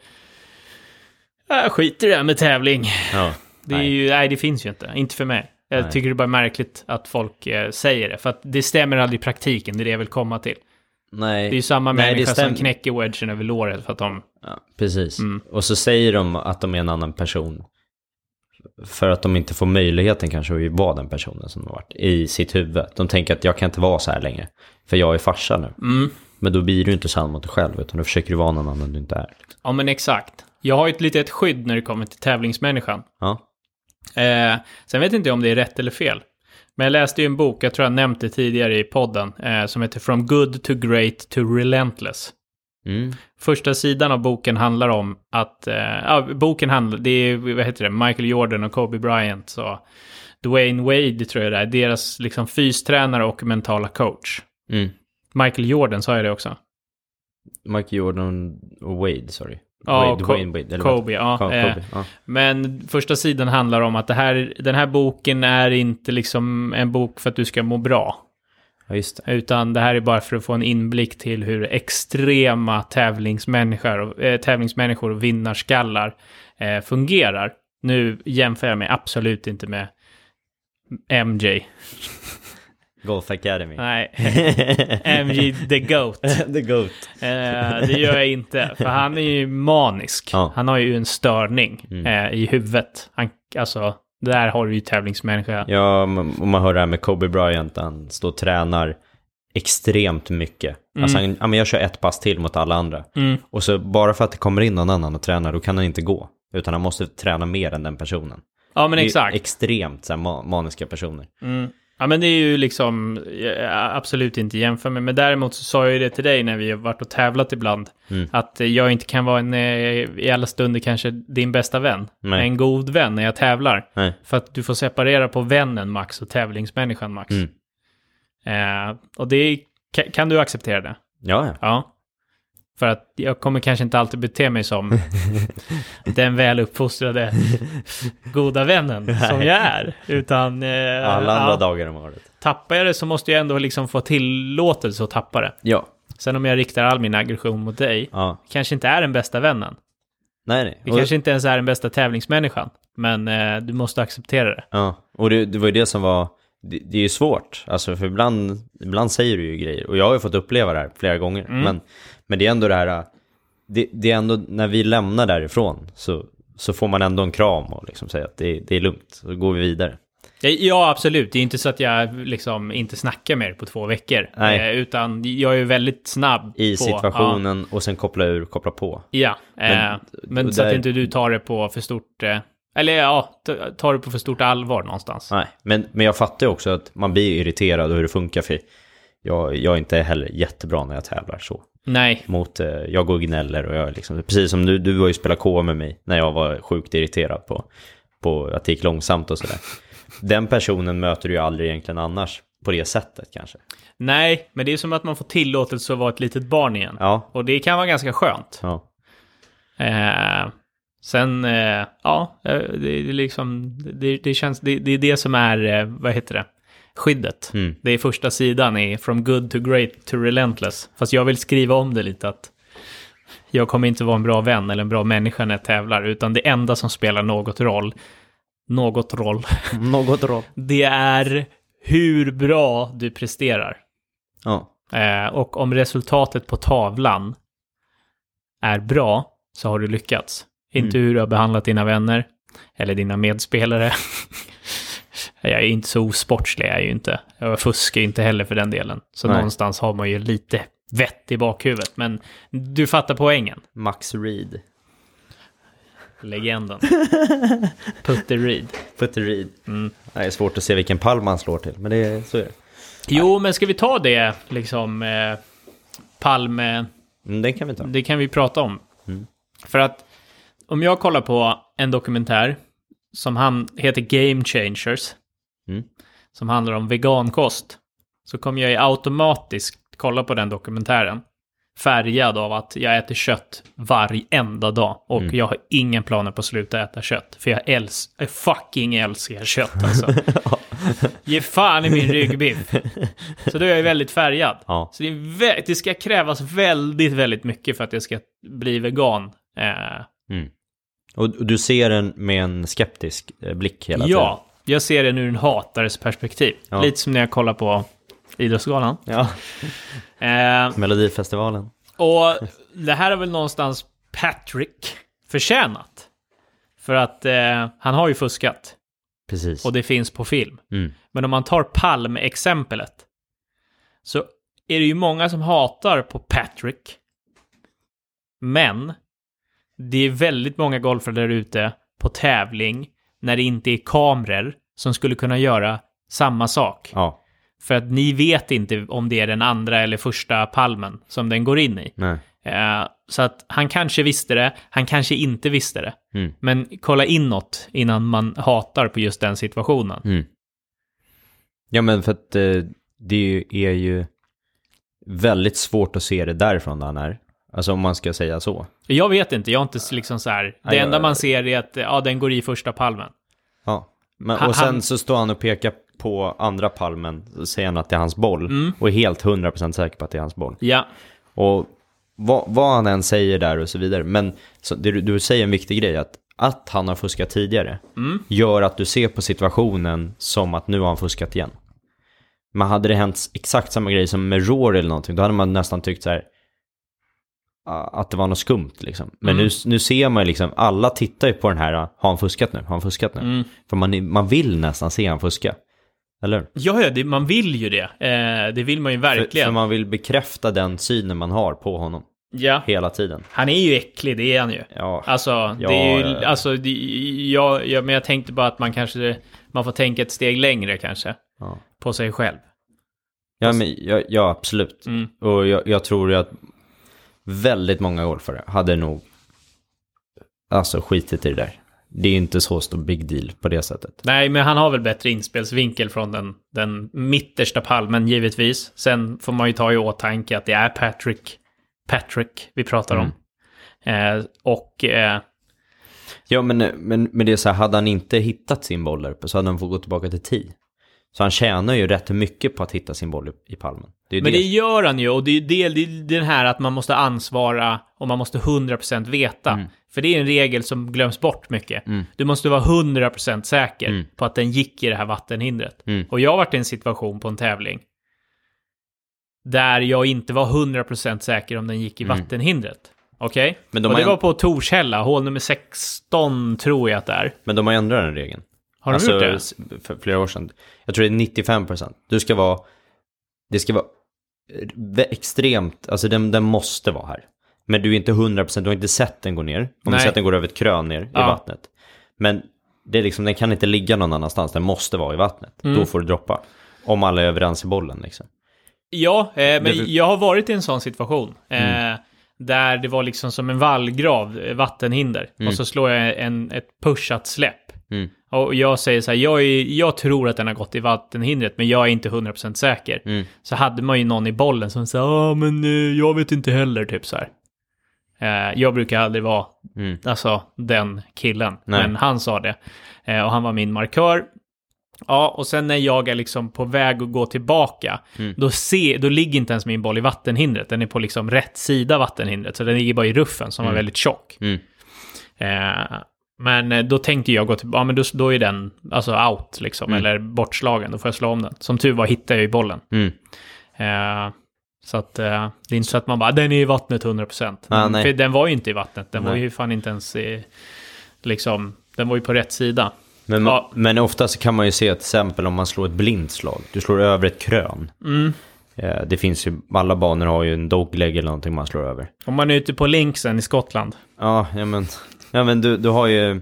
Jag skiter i det här med tävling.
Ja.
Det är
Nej.
ju, nej, det finns ju inte. Inte för mig. Jag
Nej.
tycker det är bara märkligt att folk eh, säger det, för att det stämmer aldrig i praktiken, det är det jag vill komma till.
Nej.
Det är ju samma
Nej, det
människa som
stämmer.
knäcker wedgen över låret för att de...
Ja, precis.
Mm.
Och så säger de att de är en annan person. För att de inte får möjligheten kanske att vara den personen som de har varit i sitt huvud. De tänker att jag kan inte vara så här längre. För jag är farsa nu.
Mm.
Men då blir du inte sann mot dig själv. Utan då försöker du vara någon annan du inte är.
Ja, men exakt. Jag har ju ett litet skydd när det kommer till tävlingsmänniskan.
Ja.
Eh, sen vet inte jag om det är rätt eller fel. Men jag läste ju en bok, jag tror jag nämnt det tidigare i podden, eh, som heter From Good to Great to Relentless.
Mm.
Första sidan av boken handlar om att, eh, ja, boken handlar, det är, vad heter det, Michael Jordan och Kobe Bryant och Dwayne Wade tror jag det är, deras liksom fystränare och mentala coach.
Mm.
Michael Jordan sa jag det också.
Michael Jordan och Wade, sorry.
Ja,
Wade,
Co-
Wayne Wade, eller vad-
Kobe, ja.
Ko-
eh,
Kobe, ja.
Men första sidan handlar om att det här, den här boken är inte liksom en bok för att du ska må bra.
ja, just det.
Utan det här är bara för att få en inblick till hur extrema tävlingsmänniskor, och- eh, tävlingsmänniskor och vinnarskallar eh, fungerar. Nu jämför jag mig absolut inte med MJ.
Golf Academy.
Nej, MJ the GOAT.
The Goat.
Eh, det gör jag inte, för han är ju manisk.
Ja.
Han har ju en störning
Mm.
eh, i huvudet. Han, alltså, där har du ju tävlingsmänniska.
Ja, m- om man hör det här med Kobe Bryant, han står och tränar extremt mycket. Alltså han, ja, men jag kör ett pass till mot alla andra.
Mm.
Och så bara för att det kommer in någon annan och tränar, då kan han inte gå. Utan han måste träna mer än den personen.
Ja, men
Det är ju
exakt.
Extremt så här, ma- maniska personer.
Mm. Ja, men det är ju liksom eh, absolut inte jämför med. Men däremot så sa jag ju det till dig när vi har varit och tävlat ibland.
Mm.
Att eh, jag inte kan vara en, eh, i alla stunder kanske din bästa vän.
Nej.
En god vän när jag tävlar.
Nej.
För att du får separera på vännen Max och tävlingsmänniskan Max.
Mm.
Eh, och det är, ka- kan du acceptera det?
Ja, ja.
Ja. För att jag kommer kanske inte alltid bete mig som den väl uppfostrade goda vännen som jag är. Utan eh,
Alla andra
ja,
dagar om året.
tappar jag det så måste jag ändå liksom få tillåtelse att tappa det.
Ja.
Sen om jag riktar all min aggression mot dig,
ja.
kanske inte är den bästa vännen.
Nej, nej.
Vi
Och-
kanske inte ens är den bästa tävlingsmänniskan. Men eh, du måste acceptera det.
Ja, och det, det var ju det som var, det, det är ju svårt, alltså för ibland, ibland säger du ju grejer, och jag har ju fått uppleva det här flera gånger,
Mm.
men, men det är ändå det här, äh, det, det är ändå när vi lämnar därifrån så, så får man ändå en kram och liksom säga att det, det är lugnt, så går vi vidare.
Ja, Eh, Ja, absolut. Det är inte så att jag liksom inte snackar med dig på två veckor.
Nej.
Eh, utan jag är väldigt snabb
I
på, ja.
situationen och sen koppla ur, koppla på.
Ja, men,
Men-
eh, men
och
så att
där-
inte du tar det på för stort... Eh, eller ja, ta- tar det på för stort allvar någonstans.
Nej, men, men jag fattar ju också att man blir irriterad och hur det funkar, för jag, jag är inte heller jättebra när jag tävlar så.
Nej,
mot, eh, jag går och gnäller och jag är liksom, precis som du, du har ju spelat KO med mig när jag var sjukt irriterad på, på att det gick långsamt och sådär. Den personen möter du ju aldrig egentligen annars på det sättet kanske.
nej, men det är som att man får tillåtelse att vara ett litet barn igen.
Ja,
Och det kan vara ganska skönt.
ja.
Eh, sen, eh, ja, eh, det, det är liksom... Det, det känns... Det, det är det som är, eh, vad heter det? Skyddet.
Mm.
Det är första sidan i From Good to Great to Relentless. Fast jag vill skriva om det lite att jag kommer inte vara en bra vän eller en bra människa när jag tävlar, utan det enda som spelar något roll, något roll,
Något rått.
det är hur bra du presterar.
Ja,
Eh, och om resultatet på tavlan är bra så har du lyckats. Inte hur du har behandlat dina vänner eller dina medspelare. jag är inte så osportslig, jag är ju inte. Jag fuskar ju inte heller för den delen. Så
Nej.
någonstans har man ju lite vett i bakhuvudet. Men du fattar poängen.
Max Reed.
Legenden. Putte Reed.
Putter Reed. Det är svårt att se vilken pall man slår till, men det är, så är det.
Jo, men ska vi ta det liksom eh, Palme...
Mm, den kan vi ta.
Det kan vi prata om. För att om jag kollar på en dokumentär som han, heter Game Changers,
Mm.
som handlar om vegankost, så kommer jag ju automatiskt kolla på den dokumentären färgad av att jag äter kött varenda dag och jag har ingen planer på att sluta äta kött. För jag älskar, fucking älskar kött alltså. Ge fan i min ryggbiff. Så då är jag ju väldigt färgad.
Ja.
Så det, är vä- det ska krävas väldigt, väldigt mycket för att jag ska bli vegan. Eh,
Mm. Och, och du ser den med en skeptisk eh, blick hela tiden.
ja, jag ser det ur en hatares perspektiv.
Ja.
Lite som när jag kollar på Idrottsgalan.
Ja.
Eh,
Melodifestivalen.
Och det här har väl någonstans Patrick förtjänat. För att eh, han har ju fuskat
Precis.
och det finns på film.
Mm.
Men om man tar Palm-exemplet så är det ju många som hatar på Patrick. Men det är väldigt många golfare där ute på tävling när det inte är kameror som skulle kunna göra samma sak.
Ja,
För att ni vet inte om det är den andra eller första palmen som den går in i.
nej.
Eh, så att han kanske visste det, han kanske inte visste det.
Mm.
Men kolla inåt innan man hatar på just den situationen.
Mm. Ja, men för att eh, det är ju- är ju väldigt svårt att se det därifrån där han är. Alltså om man ska säga så.
Jag vet inte, jag har inte s- liksom så här. Det
jag-
enda man ser är att eh, ja, den går i första palmen.
Ja. Men,
Han-
och sen
han-
så står han och pekar på andra palmen, så säger han att det är hans boll. Och är helt 100% säker på att det är hans boll.
Ja,
Och vad, vad han än säger där och så vidare. Men så, det, du, du säger en viktig grej, att, att han har fuskat tidigare gör att du ser på situationen som att nu har han fuskat igen. Men hade det hänt exakt samma grej som med Rory eller någonting, då hade man nästan tyckt så här a- att det var något skumt liksom. Men nu, nu ser man ju liksom, alla tittar ju på den här, "Ah, har han fuskat nu? Har han fuskat nu? För man, man vill nästan se han fuska. Eller hur?
ja, ja det, man vill ju det. Eh, det vill man ju
För,
verkligen.
för man vill bekräfta den synen man har på honom
ja.
hela tiden.
Han är ju äcklig, det är han ju.
Ja.
Alltså,
Ja,
det är ju,
ja, ja.
alltså det, jag, jag, men jag tänkte bara att man kanske, man får tänka ett steg längre kanske.
Ja.
På sig själv.
Ja, men, ja, ja absolut. Och jag, jag tror ju att väldigt många golfare hade nog alltså skitit i det där. Det är inte så stor big deal på det sättet.
Nej, men han har väl bättre inspelsvinkel från den, den mittersta palmen givetvis. Sen får man ju ta i åtanke att det är Patrick, Patrick vi pratar om.
Mm.
Eh, och eh,
Ja, men, men, men det är så här, hade han inte hittat sin boll där uppe så hade han fått gå tillbaka till 10. Så han tjänar ju rätt mycket på att hitta sin boll i, i palmen. Det är
Men
det.
det gör han ju, och det är ju det, det är den här att man måste ansvara och man måste 100% veta.
Mm.
För det är en regel som glöms bort mycket. Du måste vara 100% säker på att den gick i det här vattenhindret.
Mm.
Och jag har varit i en situation på en tävling där jag inte var 100% säker om den gick i vattenhindret. Okej?
Mm. Men de
Och
har
det
en-
var på Torshälla, hål nummer 16 tror jag att det är.
Men de har ändrat den regeln.
Har de gjort det?
Alltså, s- För flera år sedan. Jag tror det är 95 procent. Du ska vara, det ska vara eh, vä- extremt, alltså den, den måste vara här. Men du är inte 100 procent, du har inte sett den gå ner. Om du
Nej.
har sett den går över ett krön ner
Ja.
i vattnet. Men det är liksom, den kan inte ligga någon annanstans, den måste vara i vattnet.
Mm.
Då får du droppa. Om alla är överens i bollen liksom.
Ja, eh, men
Det-
jag har varit i en sån situation. Eh, Där det var liksom som en vallgrav, eh, vattenhinder. Och så slår jag en, ett pushat släpp.
Mm.
Och jag säger så här, jag, är, jag tror att den har gått i vattenhindret, men jag är inte 100% säker.
Mm.
Så hade man ju någon i bollen som sa, ja men eh, jag vet inte heller, typ så här. Eh, jag brukar aldrig vara,
Mm.
alltså den killen.
Nej.
Men han sa det. Eh, och han var min markör. Ja, och sen när jag är liksom på väg att gå tillbaka,
Mm.
då, se, då ligger inte ens min boll i vattenhindret. Den är på liksom rätt sida av vattenhindret, så den ligger bara i ruffen som var väldigt tjock.
Mm.
Eh, men eh, då tänkte jag gå tillbaka, ja, men då, då är den alltså out liksom, eller bortslagen, då får jag slå om den. Som tur var hittade jag ju bollen.
Mm.
Eh, så att eh, det är inte så att man bara, den är i vattnet 100%.
Ah,
Men-
nej.
för den var ju inte i vattnet, den var
Nej.
ju fan inte ens i, liksom, den var ju på rätt sida.
Men,
Ja.
men ofta så kan man ju se till exempel om man slår ett blindslag. Du slår över ett krön.
Mm.
Eh, Det finns ju, alla banor har ju en dogleg eller någonting man slår över.
Om man är ute på Linksen i Skottland.
Ja, ja men, ja, men du, du har ju,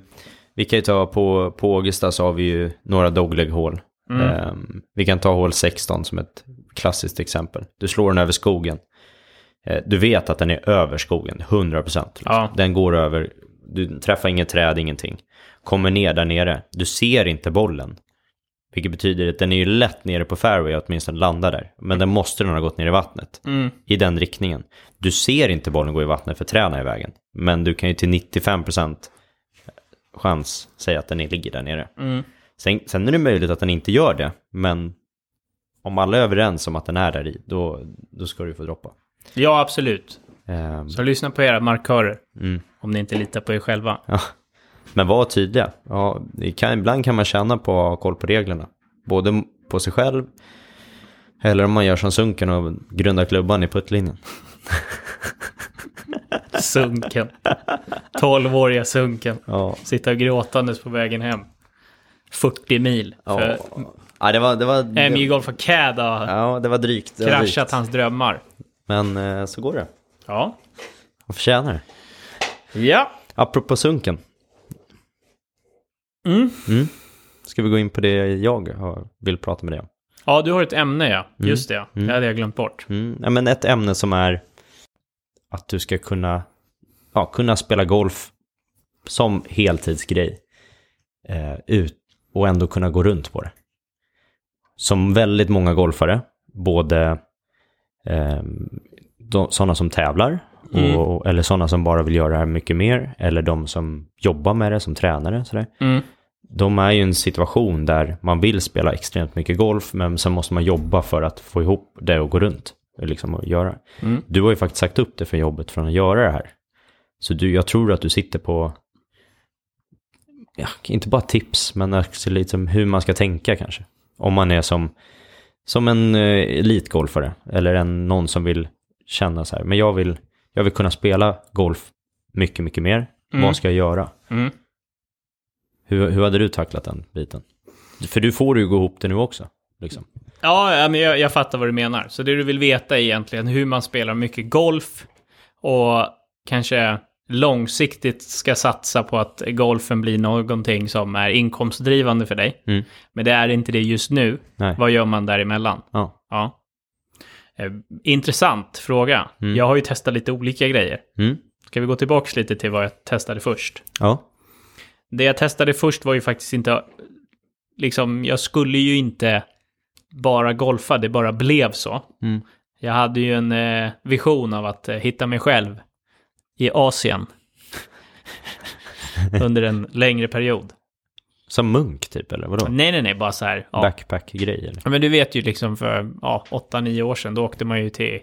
vi kan ju ta på, på Augusta så har vi ju några dogleg-hål. Ehm, vi kan ta hål 16 som ett klassiskt exempel. Du slår den över skogen. Eh, du vet att den är över skogen, 100%. Liksom.
Ja.
Den går över, du träffar inget träd, ingenting. Kommer ner där nere, du ser inte bollen. Vilket betyder att den är ju lätt nere på fairway, åtminstone landa där. Men den måste den ha gått ner i vattnet. I den riktningen. Du ser inte bollen gå i vattnet för träna i vägen. Men du kan ju till 95% chans säga att den ligger där nere. Sen, sen är det möjligt att den inte gör det. Men om alla är överens om att den är där i, då, då ska du få droppa.
Ja, absolut.
Ehm,
Så lyssna på era markörer.
Mm.
Om ni inte litar på er själva.
Ja. Men var tydliga. Ja, det kan, ibland kan man tjäna på att ha koll på reglerna. Både på sig själv, eller om man gör som Sunken och grundar klubban i puttlinjen.
Sunken. 12-åriga sunken.
Ja.
Sitta och gråtandes på vägen hem. 40 mil.
Ja,
För
ja det, var, det, var,
MJ
det,
Golf Acad har
ja, det var drygt. Det var
kraschat
drygt.
hans drömmar.
Men eh, så går det.
Ja.
Man förtjänar det.
Ja.
Apropå Sunken.
Mm.
Ska vi gå in på det jag har- vill prata med dig om?
Ja, du har ett ämne ja. Just det. Det hade jag glömt bort.
Mm. Ja, men ett ämne som är att du ska kunna, ja, kunna spela golf som heltidsgrej eh, ut, och ändå kunna gå runt på det. Som väldigt många golfare, både eh, de, sådana som tävlar,
Mm.
och, eller sådana som bara vill göra det här mycket mer, eller de som jobbar med det som tränare. Sådär.
Mm.
De är ju i en situation där man vill spela extremt mycket golf, men sen måste man jobba för att få ihop det och gå runt. Liksom och göra.
Mm.
Du har ju faktiskt sagt upp det för jobbet från att göra det här. Så du, jag tror att du sitter på, ja, inte bara tips, men också liksom hur man ska tänka kanske. Om man är som, som en eh, elitgolfare, eller en, någon som vill känna så här, men jag vill, jag vill kunna spela golf mycket, mycket mer.
Mm.
Vad ska jag göra?
Mm.
Hur, hur hade du tacklat den biten? För du får ju gå ihop det nu också. Liksom.
Ja, ja, men jag, jag fattar vad du menar. Så det du vill veta är egentligen hur man spelar mycket golf och kanske långsiktigt ska satsa på att golfen blir någonting som är inkomstdrivande för dig.
Mm.
Men det är inte det just nu.
Nej.
Vad gör man däremellan?
Ja.
Ja. Eh, intressant fråga.
Mm.
Jag har ju testat lite olika grejer.
Mm.
Ska vi gå tillbaka lite till vad jag testade först?
Ja.
Det jag testade först var ju faktiskt inte... Liksom, jag skulle ju inte bara golfa, det bara blev så.
Mm.
Jag hade ju en eh, vision av att eh, hitta mig själv i Asien. Under en längre period.
Som munk typ, eller vadå?
Nej, nej, nej, bara så här. Mm. Ja.
Backpack-grej eller?
Ja, Men du vet ju liksom för ja, 8-9 år sedan, då åkte man ju till,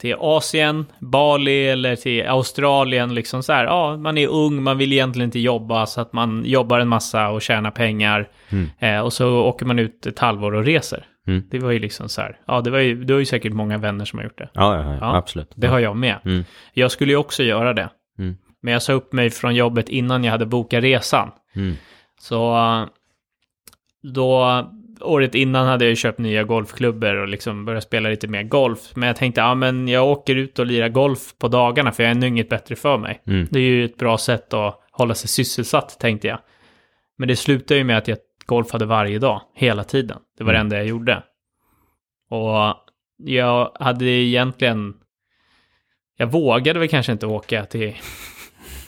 till Asien, Bali eller till Australien. Liksom så här, ja, man är ung, man vill egentligen inte jobba, så att man jobbar en massa och tjänar pengar.
Mm.
Eh, och så åker man ut ett halvår och reser.
Mm.
Det var ju liksom så här, ja, det var ju, du har ju säkert många vänner som har gjort det.
Ja, ja, ja,
Ja,
absolut.
Det har jag med.
Mm.
Jag skulle ju också göra det.
Mm.
Men jag sa upp mig från jobbet innan jag hade bokat resan.
Mm.
Så eh, då, året innan hade jag ju köpt nya golfklubbor och liksom börjat spela lite mer golf. Men jag tänkte, ja men jag åker ut och lirar golf på dagarna för jag har ännu inget bättre för mig.
Mm.
Det är ju ett bra sätt att hålla sig sysselsatt tänkte jag. Men det slutade ju med att jag golfade varje dag, hela tiden. Det var det
Mm.
enda jag gjorde. Och jag hade egentligen... Jag vågade väl kanske inte åka till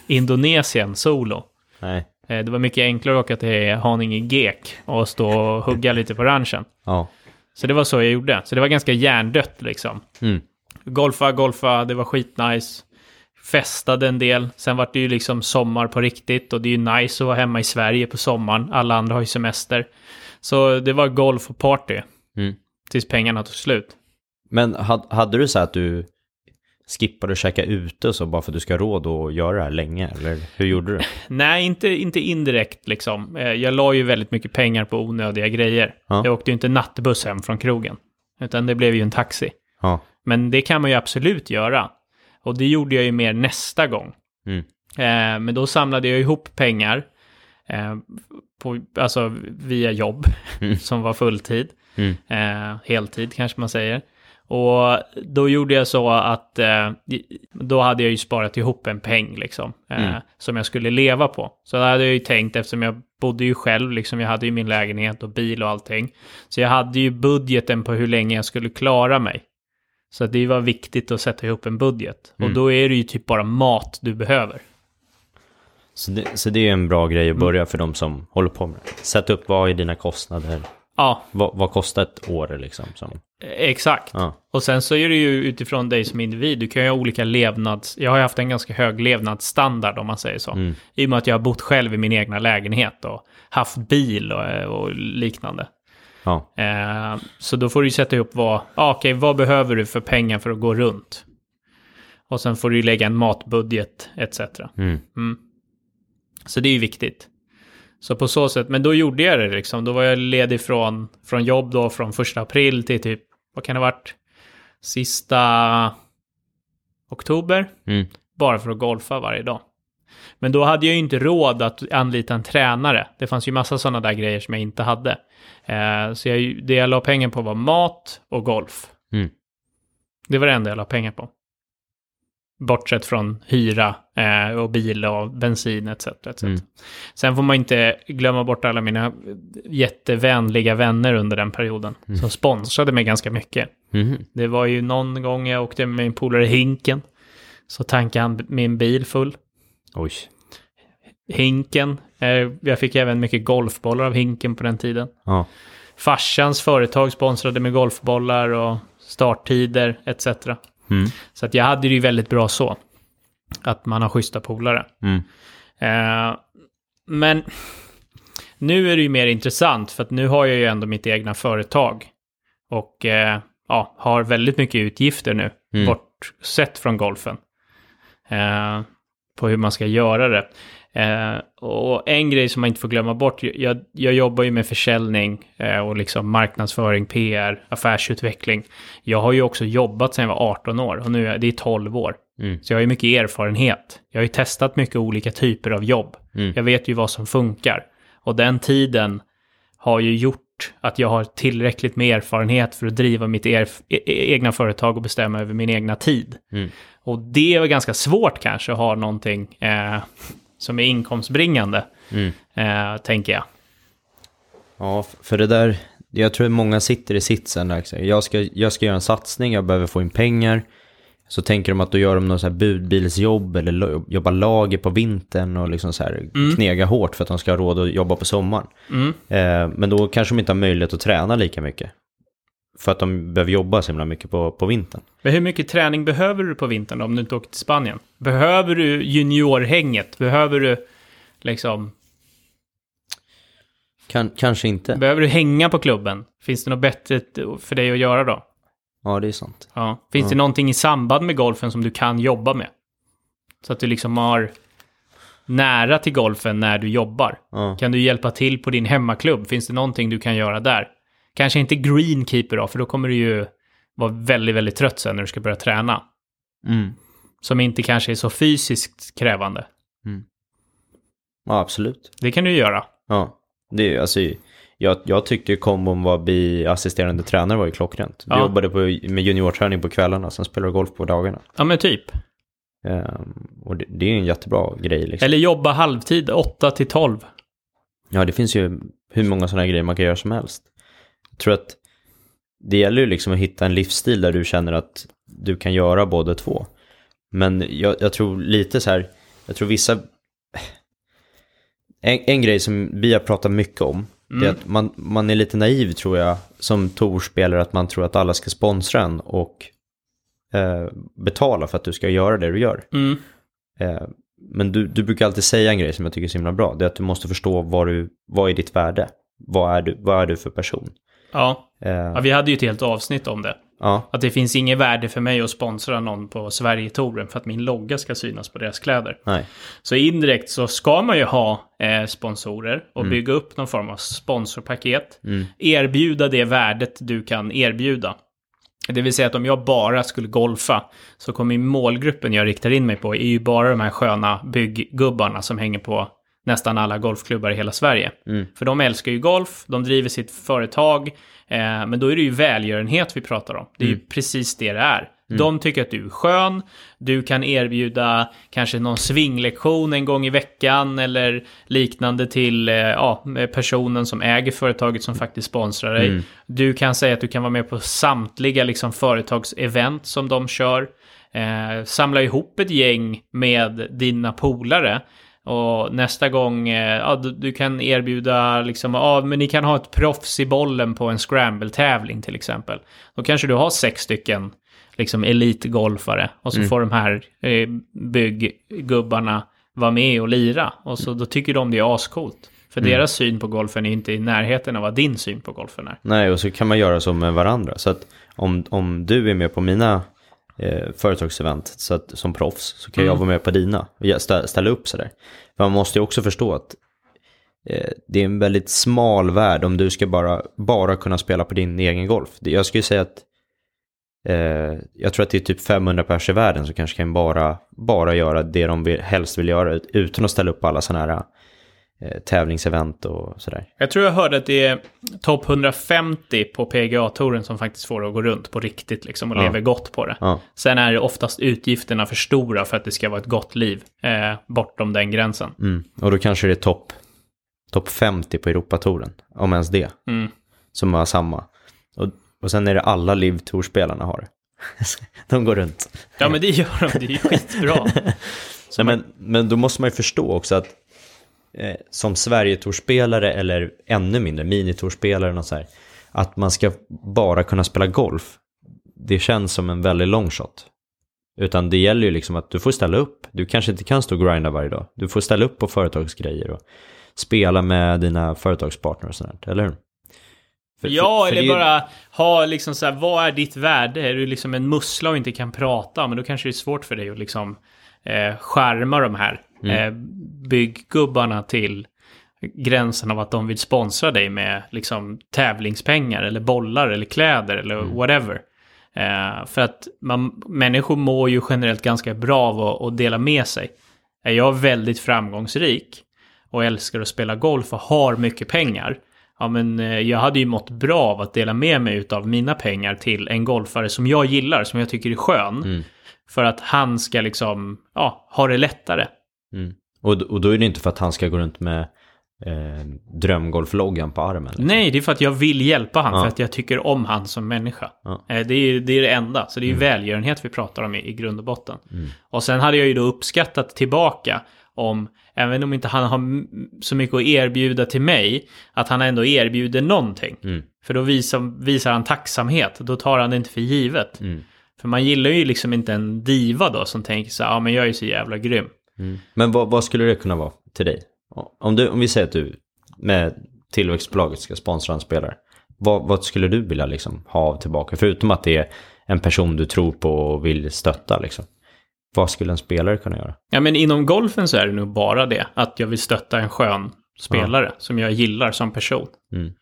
Indonesien solo.
Nej.
Eh, Det var mycket enklare att åka till Haninge Gek och stå och hugga lite på ranchen.
Ja.
Så det var så jag gjorde. Så det var ganska hjärndött liksom.
Mm.
Golfa, golfa, det var skitnice. Festade en del. Sen var det ju liksom sommar på riktigt och det är ju nice att vara hemma i Sverige på sommaren. Alla andra har ju semester. Så det var golf och party
Mm.
tills pengarna tog slut.
Men had, hade du så här att du skippade att käka ute och så bara för att du ska ha råd att göra det här länge? Eller hur gjorde du?
Nej, inte, inte indirekt liksom. Eh, Jag la ju väldigt mycket pengar på onödiga grejer.
Ja.
Jag åkte ju inte nattbuss hem från krogen. Utan det blev ju en taxi.
Ja.
Men det kan man ju absolut göra. Och det gjorde jag ju mer nästa gång.
Mm.
Eh, men då samlade jag ihop pengar, eh, på, alltså via jobb,
Mm.
som var fulltid.
Mm.
Eh, heltid kanske man säger. Och då gjorde jag så att eh, då hade jag ju sparat ihop en peng liksom. Eh,
Mm.
Som jag skulle leva på. Så det hade jag ju tänkt eftersom jag bodde ju själv liksom. Jag hade ju min lägenhet och bil och allting. Så jag hade ju budgeten på hur länge jag skulle klara mig. Så att det var viktigt att sätta ihop en budget.
Mm.
Och då är det ju typ bara mat du behöver.
Så, det, så det är en bra grej att
Mm.
börja för de som håller på med det. Sätt upp vad är dina kostnader?
Ja, eh,
Vad, vad kostar ett år liksom? Som,
exakt.
ja.
Och sen så är det ju utifrån dig som individ, du kan ju ha olika levnads... Jag har ju haft en ganska hög levnadsstandard om man säger så.
Mm.
I och med att jag har bott själv i min egna lägenhet och haft bil och, och liknande.
ja.
Eh, så då får du ju sätta ihop vad, ah, okej, vad behöver du för pengar för att gå runt? Och sen får du ju lägga en matbudget etc.
Mm.
Så det är ju viktigt. Så på så sätt, men då gjorde jag det liksom. Då var jag ledig från, från jobb då från första april till typ, vad kan det ha varit? Sista oktober.
Mm.
Bara för att golfa varje dag. Men då hade jag ju inte råd att anlita en tränare. Det fanns ju massa sådana där grejer som jag inte hade. Eh, så jag, det jag la pengar på var mat och golf.
Mm.
Det var det enda jag la pengar på. Bortsett från hyra eh, och bil och bensin etc. etc.
Mm.
Sen får man inte glömma bort alla mina jättevänliga vänner under den perioden. Som sponsrade mig ganska mycket.
Mhm.
Det var ju någon gång jag åkte med min polare Hinken. Så tankade han min bil full.
Oj.
Hinken. Eh, Jag fick även mycket golfbollar av Hinken på den tiden.
Ja.
Farsans företag sponsrade med golfbollar och starttider etc.
Mm.
Så att jag hade det ju väldigt bra så. Att man har schyssta polare.
Mm.
Eh, men nu är det ju mer intressant för att nu har jag ju ändå mitt egna företag. Och eh, ja, har väldigt mycket utgifter nu,
Mm.
bortsett från golfen. Eh, på hur man ska göra det. Eh, och en grej som man inte får glömma bort, jag, jag jobbar ju med försäljning eh, och liksom marknadsföring, PR, affärsutveckling. Jag har ju också jobbat sedan jag var 18 år och nu är det är 12 år.
Mm.
Så jag har ju mycket erfarenhet. Jag har ju testat mycket olika typer av jobb.
Mm.
Jag vet ju vad som funkar. Och den tiden har ju gjort att jag har tillräckligt med erfarenhet för att driva mitt erf- e- e- egna företag och bestämma över min egna tid.
Mm.
Och det är ganska svårt kanske att ha någonting eh, som är inkomstbringande,
Mm.
eh, tänker jag.
Ja, f- för det där, jag tror många sitter i sitsen där. liksom. Jag ska, jag ska göra en satsning, jag behöver få in pengar. Så tänker de att då gör de något så här budbilsjobb eller lo- jobba lager på vintern och liksom så här knega hårt för att de ska ha råd att jobba på sommaren.
Mm.
Eh, men då kanske de inte har möjlighet att träna lika mycket. För att de behöver jobba så himla mycket på, på vintern.
Men hur mycket träning behöver du på vintern om du inte åker till Spanien? Behöver du juniorhänget? Behöver du liksom
Kan, kanske inte.
Behöver du hänga på klubben? Finns det något bättre t- för dig att göra då?
Ja, det är sant.
Ja. Finns det någonting i samband med golfen som du kan jobba med? Så att du liksom har nära till golfen när du jobbar.
Ja.
Kan du hjälpa till på din hemmaklubb? Finns det någonting du kan göra där? Kanske inte greenkeeper då, för då kommer du ju vara väldigt, väldigt trött sen när du ska börja träna.
Mm.
Som inte kanske är så fysiskt krävande.
Ja, absolut.
Det kan du ju göra.
Ja, det är ju, alltså, jag, jag tyckte ju kombon var bli assisterande tränare var ju klockrent. Du
Ja.
jobbade på, med juniorträning på kvällarna, sen spelade du golf på dagarna.
Ja, men typ.
Ehm, och det, det är ju en jättebra grej liksom.
Eller jobba halvtid, 8 till 12.
Ja, det finns ju hur många sådana grejer man kan göra som helst. Jag tror att det gäller ju liksom att hitta en livsstil där du känner att du kan göra båda två. Men jag, jag tror lite så här, jag tror vissa... En, en grej som vi har pratat mycket om, det är att man, man är lite naiv tror jag, som torspelare att man tror att alla ska sponsra en och eh, betala för att du ska göra det du gör.
Mm.
Eh, Men du, du brukar alltid säga en grej som jag tycker är så himla bra. Det är att du måste förstå vad, du, vad är ditt värde? Vad är du, vad är du för person?
Ja.
Eh,
ja, vi hade ju ett helt avsnitt om det.
ja,
Att det finns inget värde för mig att sponsra någon på Sverige-touren för att min logga ska synas på deras kläder.
nej.
Så indirekt så ska man ju ha eh, sponsorer och bygga upp någon form av sponsorpaket. Erbjuda det värdet du kan erbjuda. Det vill säga att om jag bara skulle golfa så kommer ju målgruppen jag riktar in mig på är ju bara de här sköna bygggubbarna som hänger på nästan alla golfklubbar i hela Sverige. För de älskar ju golf, de driver sitt företag, eh, men då är det ju välgörenhet vi pratar om. Det är ju precis det det är. De tycker att du är skön, du kan erbjuda kanske någon svinglektion en gång i veckan eller liknande till eh, ja, personen som äger företaget som faktiskt sponsrar dig. Du kan säga att du kan vara med på samtliga liksom, företagsevent som de kör. Eh, samla ihop ett gäng med dina polare. Och nästa gång, eh, ja, du, du kan erbjuda liksom, ja, men ni kan ha ett proffs i bollen på en scramble-tävling till exempel. Då kanske du har sex stycken liksom elitgolfare och så får de här eh, bygggubbarna vara med och lira. Och så då tycker de det är ascoolt. För deras syn på golfen är inte i närheten av vad din syn på golfen är.
Nej, och så kan man göra så med varandra. Så att om, om du är med på mina eh, företagsevent så att, som proffs så kan jag vara med på dina och jag stä, ställa upp sådär. Men man måste ju också förstå att eh, det är en väldigt smal värld om du ska bara, bara kunna spela på din egen golf. Det- Jag skulle säga att eh, jag tror att det är typ 500 pers i världen som kanske kan bara, bara göra det de vill, helst vill göra ut- utan att ställa upp på alla sådana här eh, tävlingsevent och sådär.
Jag tror jag hörde att det är topp 150 på PGA-touren som faktiskt får det att gå runt på riktigt liksom och
Ja.
lever gott på det.
Ja.
Sen är det oftast utgifterna för stora för att det ska vara ett gott liv eh, bortom den gränsen.
Mm. Och då kanske det är topp top 50 på Europatouren, om ens det,
Mm.
som har samma. Och, och sen är det alla Live Tour-spelarna har det. De går runt.
Ja men det gör de, det är ju skitbra.
Nej, men, men då måste man ju förstå också att eh, som Sverigetorspelare eller ännu mindre minitorspelare, och något så här, att man ska bara kunna spela golf, det känns som en väldigt long shot. Utan det gäller ju liksom att du får ställa upp. Du kanske inte kan stå och grinda varje dag. Du får ställa upp på företagsgrejer och spela med dina företagspartner och sånt, eller hur? För-
Ja,
för- för
eller
det är ju-
bara ha liksom så här, vad är ditt värde? Är du liksom en mussla och inte kan prata, men då kanske det är svårt för dig att liksom eh, skärma de här
Mm.
eh, bygggubbarna till gränsen av att de vill sponsra dig med liksom tävlingspengar eller bollar eller kläder eller
Mm.
whatever. Eh, för att man, människor mår ju generellt ganska bra av att, att dela med sig. Är jag väldigt framgångsrik och älskar att spela golf och har mycket pengar. Ja, men eh, jag hade ju mått bra av att dela med mig av mina pengar till en golfare som jag gillar, som jag tycker är skön.
Mm.
För att han ska liksom, ja, ha det lättare.
Mm. Och, och då är det inte för att han ska gå runt med eh, drömgolfloggan på armen. liksom.
Nej, det är för att jag vill hjälpa han,
Ja.
för att jag tycker om han som människa.
Ja. Mm.
Eh, Det är ju det, är det enda, så det är ju välgörenhet vi pratar om i, i grund och botten. Och sen hade jag ju då uppskattat tillbaka om, även om inte han har m- så mycket att erbjuda till mig, att han ändå erbjuder någonting.
Mm.
För då visar, visar han tacksamhet, då tar han det inte för givet. För man gillar ju liksom inte en diva då som tänker så här, ja men jag är ju så jävla grym.
Men vad, vad skulle det kunna vara till dig? Om, du, om vi säger att du med tillväxtbolaget ska sponsra en spelare. Vad, vad skulle du vilja liksom ha av tillbaka? Förutom att det är en person du tror på och vill stötta. Liksom. Vad skulle en spelare kunna göra?
Ja, men inom golfen så är det nog bara det. Att jag vill stötta en skön spelare som jag gillar som person.
Mm.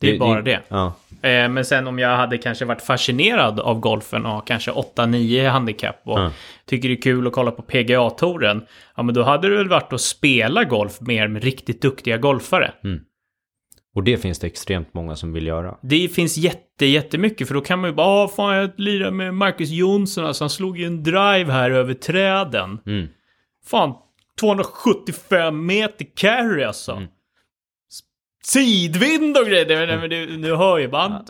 Det är bara det.
Ja.
Eh, men sen om jag hade kanske varit fascinerad av golfen och kanske 8-9 handikapp och
Ja.
tycker det är kul att kolla på pga touren Ja, men då hade det väl varit att spela golf mer med riktigt duktiga golfare.
Och det finns det extremt många som vill göra.
Det finns jätte, jättemycket för då kan man ju bara, "Ah, fan jag lirar med Marcus Jonsson, alltså han slog ju en drive här över träden.
Mm.
Fan, 275 meter carry alltså.
Mm.
S- Sidvind och grejer, det- men du, du hör ju bara.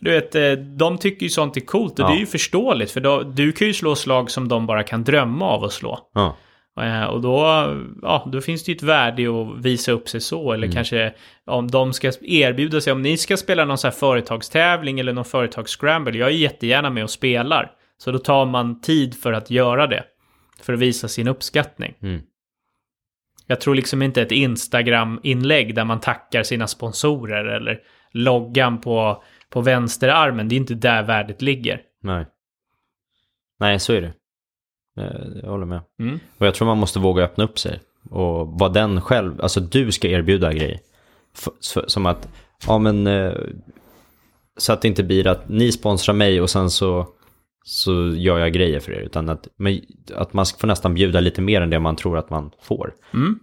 Du vet, eh, de tycker ju sånt är coolt och
Ja.
det är ju förståeligt för då, du kan ju slå slag som de bara kan drömma av att slå.
Ja.
Eh, Och då, ja, då finns det ju ett värde i att visa upp sig så. Eller kanske om de ska erbjuda sig. Om ni ska spela någon så här företagstävling eller någon företagsscramble. Jag är jättegärna med och spelar. Så då tar man tid för att göra det. För att visa sin uppskattning.
Mm.
Jag tror liksom inte ett Instagram-inlägg där man tackar sina sponsorer eller loggan på, på vänsterarmen. Det är inte där värdet ligger.
Nej. Nej, så är det. Eh, Jag håller med.
Mm.
Och jag tror man måste våga öppna upp sig. Och vara den själv, alltså du ska erbjuda grejer. F- s- som att, ja men, eh, så att det inte blir att ni sponsrar mig och sen så, så gör jag grejer för er. Utan att, men, att man får nästan bjuda lite mer än det man tror att man får.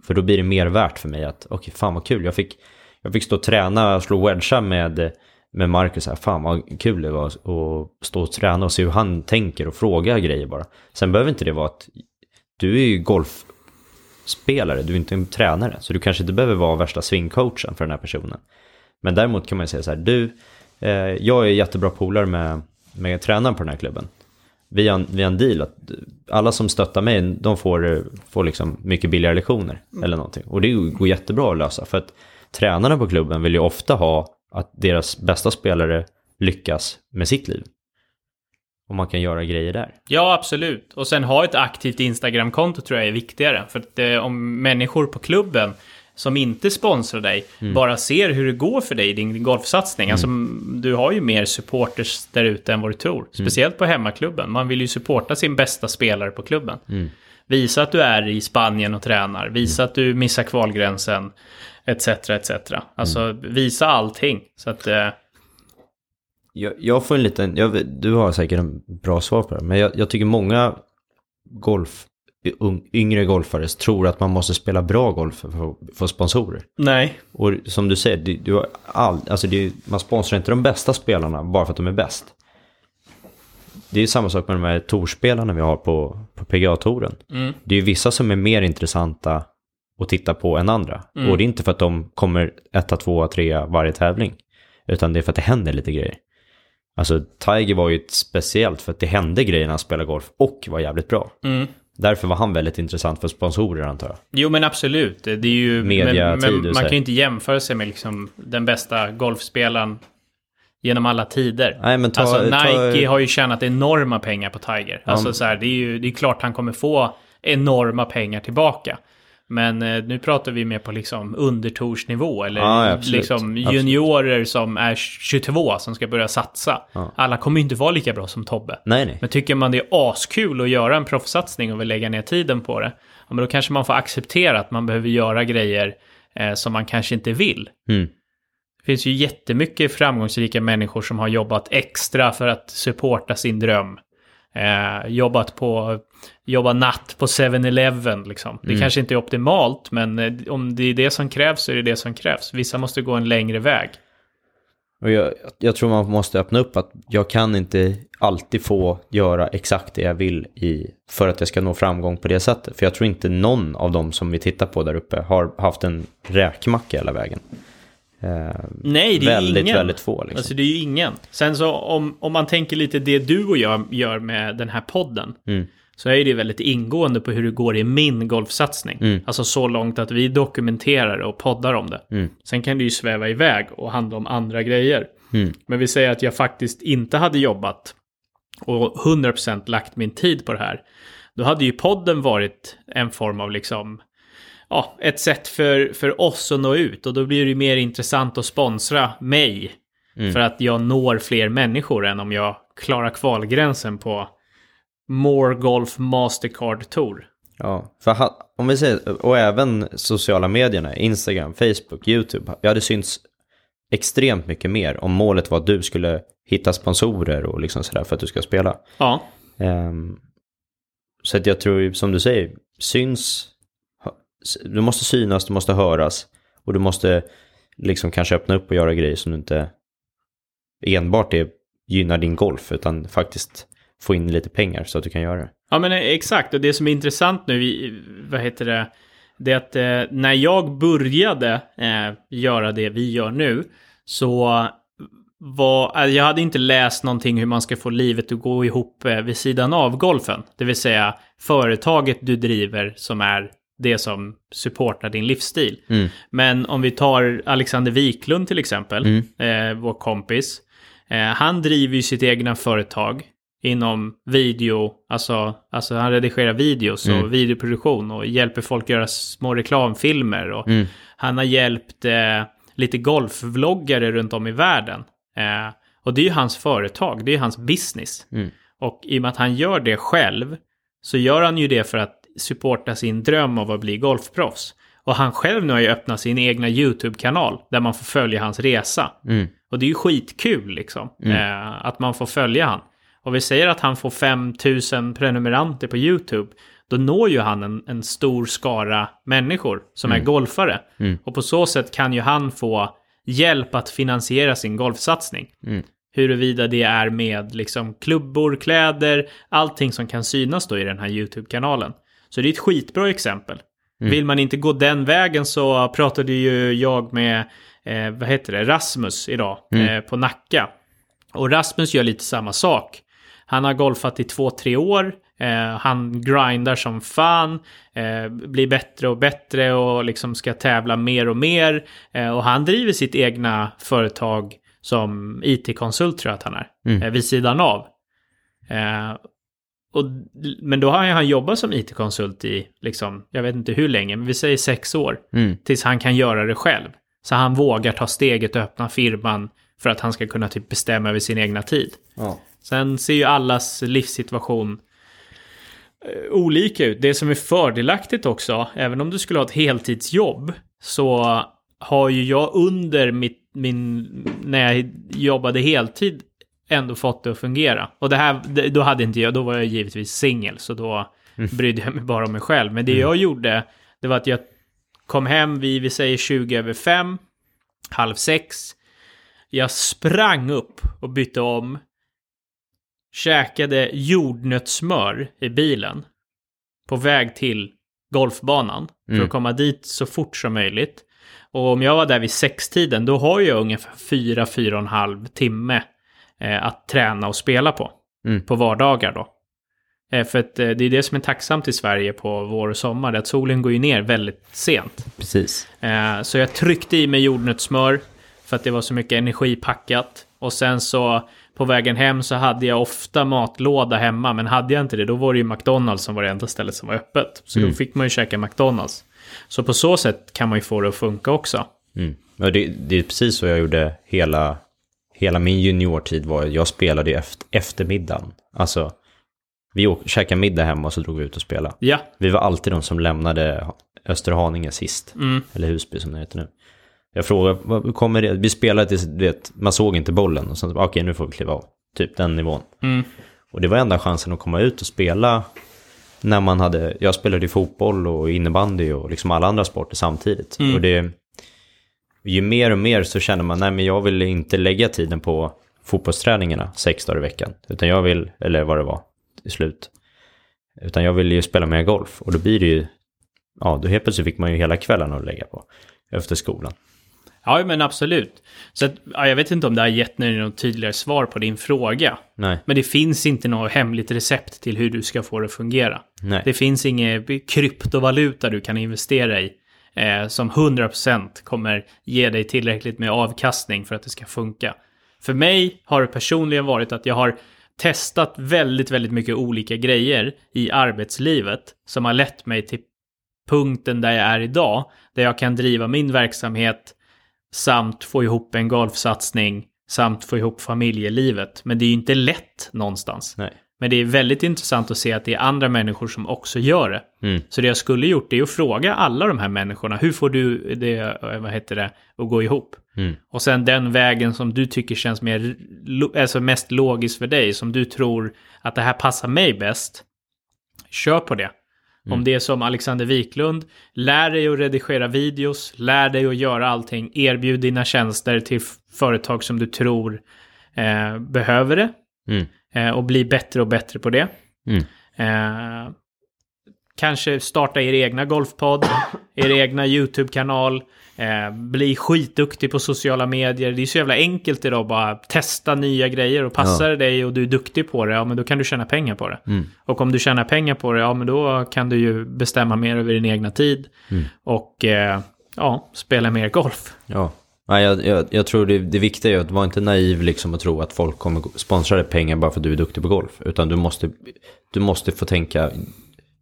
För då blir det mer värt för mig att, okej fan vad kul, jag fick, jag fick stå och träna och slå wedgar med, med Marcus här, fan vad kul det var att att stå och träna och se hur han tänker och fråga grejer bara. Sen behöver inte det vara att du är ju golfspelare, du är inte en tränare. Så du kanske inte behöver vara värsta swingcoachen för den här personen. Men däremot kan man ju säga så här, du, eh, jag är jättebra polare med, med tränaren på den här klubben. Vi har, en- vi har en deal att alla som stöttar mig, de får, eh, får liksom mycket billigare lektioner eller någonting. Och det går jättebra att lösa för att tränarna på klubben vill ju ofta ha att deras bästa spelare lyckas med sitt liv. Och man kan göra grejer där.
Ja, absolut. Och sen ha ett aktivt Instagram-konto tror jag är viktigare. För att eh, om människor på klubben som inte sponsrar dig bara ser hur det går för dig i din golfsatsning. Alltså, m- du har ju mer supporters där ute än vad du tror. Speciellt på hemmaklubben. Man vill ju supporta sin bästa spelare på klubben. Visa att du är i Spanien och tränar. Visa att du missar kvalgränsen. Etc, etc. Alltså visa allting. Så att, eh,
Jag, jag får en liten, jag, vet- du har säkert en bra svar på det, men jag, jag tycker många golf, ung- yngre golfare tror att man måste spela bra golf för att få- få sponsorer.
nej.
Och som du säger, det, du har all, alltså det, man sponsrar inte de bästa spelarna bara för att de är bäst. Det är ju samma sak med de här torspelarna vi har på, på PGA-touren.
Mm.
Det är ju vissa som är mer intressanta att titta på än andra.
Mm.
Och det är inte för att de kommer etta, tvåa, trea varje tävling. Utan det är för att det händer lite grejer. Alltså Tiger var ju ett speciellt för att det hände grejer när han spelade golf och var jävligt bra.
Mm.
Därför var han väldigt intressant för sponsorer antar jag.
Jo men absolut. Det är ju, men,
Mediatid,
men
du
man
säger.
kan ju inte jämföra sig med liksom den bästa golfspelaren genom alla tider.
Nej men ta...
alltså Nike
ta,
har ju tjänat enorma pengar på Tiger. Alltså så här, det är ju det är klart han kommer få enorma pengar tillbaka. Men eh, nu pratar vi mer på liksom undertorsnivå eller
Ja, ja, absolut.
liksom
Absolut.
juniorer som är 22 som ska börja satsa. Alla kommer ju inte vara lika bra som Tobbe.
Nej nej.
Men tycker man det är askul att göra en proffssatsning och vill lägga ner tiden på det, ja, men då kanske man får acceptera att man behöver göra grejer eh, som man kanske inte vill.
Mm.
Det finns ju jättemycket framgångsrika människor som har jobbat extra för att supporta sin dröm. Eh, jobbat på, jobba natt på 7-Eleven liksom.
Mm.
Det kanske inte är optimalt, men eh, om det är det som krävs så är det det som krävs. Vissa måste gå en längre väg.
Och jag, jag tror man måste öppna upp att jag kan inte alltid få göra exakt det jag vill i, för att jag ska nå framgång på det sättet. För jag tror inte någon av dem som vi tittar på där uppe har haft en räkmacka hela vägen. Eh,
Nej, det är
väldigt,
ingen.
väldigt få liksom.
Alltså det är ju ingen. Sen så om, om man tänker lite det du och jag gör med den här podden.
Mm.
Så är det väldigt ingående på hur det går i min golfsatsning.
Mm.
Alltså så långt att vi dokumenterar och poddar om det. Sen kan det ju sväva iväg och handla om andra grejer.
Mm.
Men vi säger att jag faktiskt inte hade jobbat och 100% lagt min tid på det här. Då hade ju podden varit en form av liksom ja, ett sätt för, för oss att nå ut och då blir det ju mer intressant att sponsra mig för att jag når fler människor än om jag klarar kvalgränsen på More Golf Mastercard Tour.
Ja, för ha- om vi säger, och även sociala medierna, Instagram, Facebook, YouTube. Jag hade synts extremt mycket mer om målet var att du skulle hitta sponsorer och liksom sådär för att du ska spela.
Ja,
Ehm, så att jag tror, ju, som du säger, syns, hö- s- du måste synas, du måste höras och du måste liksom kanske öppna upp och göra grejer som du inte enbart är, gynnar din golf utan faktiskt få in lite pengar så att du kan göra det.
ja men eh, exakt. Och det som är intressant nu, i- vad heter det, det är att eh, när jag började eh, göra det vi gör nu så var, alltså, jag hade inte läst någonting hur man ska få livet att gå ihop eh, vid sidan av golfen. Det vill säga företaget du driver som är det som supportar din livsstil.
Mm,
Men om vi tar Alexander Wiklund till exempel, eh, vår kompis. Eh, han driver ju sitt egna företag inom video, alltså, alltså han redigerar videos och videoproduktion och hjälper folk göra små reklamfilmer.
Mm.
Och Han har hjälpt eh, lite golfvloggare runt om i världen. Eh, och det är ju hans företag, det är ju hans business. Och i och med att han gör det själv så gör han ju det för att supporta sin dröm av att bli golfproffs. Och han själv nu har ju öppnat sin egna YouTube-kanal där man får följa hans resa.
mm,
Och det är ju skitkul liksom eh, att man får följa han. Och vi säger att han får 5000 prenumeranter på YouTube. Då når ju han en, en stor skara människor som är golfare. Och på så sätt kan ju han få hjälp att finansiera sin golfsatsning. Huruvida det är med liksom klubbor, kläder, allting som kan synas då i den här YouTube-kanalen. Så det är ett skitbra exempel. Vill man inte gå den vägen så pratade ju jag med, eh, vad heter det, Rasmus idag eh, på Nacka. Och Rasmus gör lite samma sak. Han har golfat i två, tre år. Eh, han grindar som fan, eh, blir bättre och bättre och liksom ska tävla mer och mer. Eh, och han driver sitt egna företag som IT-konsult tror jag att han är, eh, vid sidan av. Eh, och, men då har ju han jobbat som IT-konsult i, liksom, jag vet inte hur länge, men vi säger sex år.
mm.
Tills han kan göra det själv. Så han vågar ta steget och öppna firman för att han ska kunna typ bestämma över sin egna tid. Sen ser ju allas livssituation eh, olika ut. Det som är fördelaktigt också, även om du skulle ha ett heltidsjobb, så har ju jag under mitt, min, när jag jobbade heltid ändå fått det att fungera. Och det här, det- då hade inte jag, då var jag givetvis singel, så då brydde jag mig bara om mig själv. Men det jag gjorde, det var att jag kom hem vid, vi säger 20 över 5, halv 6. Jag sprang upp och bytte om käkade jordnötssmör i bilen på väg till golfbanan för att komma dit så fort som möjligt. Och om jag var där vid sextiden, då har jag ungefär fyra, fyra och en halv timme eh, att träna och spela på.
Mm.
På vardagar då. Eh, för att, eh, det är det som är tacksamt i Sverige på vår och sommar, det är att solen går ju ner väldigt sent.
Precis.
Eh, så jag tryckte i mig jordnötssmör för att det var så mycket energi packat. Och sen så på vägen hem så hade jag ofta matlåda hemma, men hade jag inte det då var det ju McDonalds som var det enda stället som var öppet. Så då fick man ju käka McDonalds. Så på så sätt kan man ju få det att funka också.
Mm. Ja, det, det är precis så jag gjorde hela, hela min juniortid. Var, jag spelade ju efter, eftermiddagen. Alltså, vi åk, käkade middag hemma och så drog vi ut och spelade.
Ja,
Vi var alltid de som lämnade Österhaninge sist. Eller Husby som det heter nu. Jag frågade, "Vad- hur kommer det? Vi spelade tills, du vet, man såg inte bollen. Och sen, så bara, okej nu får vi kliva av. Typ den nivån. Och det var enda chansen att komma ut och spela. När man hade, jag spelade ju fotboll och innebandy och liksom alla andra sporter samtidigt. Och det, ju mer och mer så känner man, nej men jag vill inte lägga tiden på fotbollsträningarna sex dagar i veckan. Utan jag vill, eller vad det var, i slut. Utan jag ville ju spela mer golf och då blir det ju, ja då helt plötsligt fick man ju hela kvällen att lägga på efter skolan.
ja men absolut. Så att, ja, jag vet inte om det har gett dig något tydligare svar på din fråga.
Nej,
Men det finns inte något hemligt recept till hur du ska få det att fungera.
nej,
Det finns ingen kryptovaluta du kan investera i eh, som 100% kommer ge dig tillräckligt med avkastning för att det ska funka. För mig har det personligen varit att jag har testat väldigt, väldigt mycket olika grejer i arbetslivet som har lett mig till punkten där jag är idag, där jag kan driva min verksamhet samt få ihop en golfsatsning samt få ihop familjelivet. Men det är ju inte lätt någonstans.
nej.
Men det är väldigt intressant att se att det är andra människor som också gör det.
Mm.
Så det jag skulle gjort är att fråga alla de här människorna, hur får du det, eh, vad heter det, att gå ihop?
Mm.
Och sen den vägen som du tycker känns mer, lo- alltså mest logisk för dig, som du tror att det här passar mig bäst, kör på det. Om det är som Alexander Wiklund, lär dig att redigera videos, lär dig att göra allting, erbjud dina tjänster till f- företag som du tror eh, behöver det
Mm.
eh, och bli bättre och bättre på det.
Mm.
Eh, kanske starta er egna golfpodd, er egna YouTube-kanal, eh, bli skitduktig på sociala medier. Det är så jävla enkelt idag att bara testa nya grejer och passar det dig och du är duktig på det, ja men då kan du tjäna pengar på det. Och om du tjänar pengar på det, ja men då kan du ju bestämma mer över din egna tid och eh, ja, spela mer golf.
Ja. Nej, jag, jag, jag tror det, det viktiga är att vara inte naiv liksom och tro att folk kommer sponsra dig pengar bara för att du är duktig på golf. Utan du måste, du måste få tänka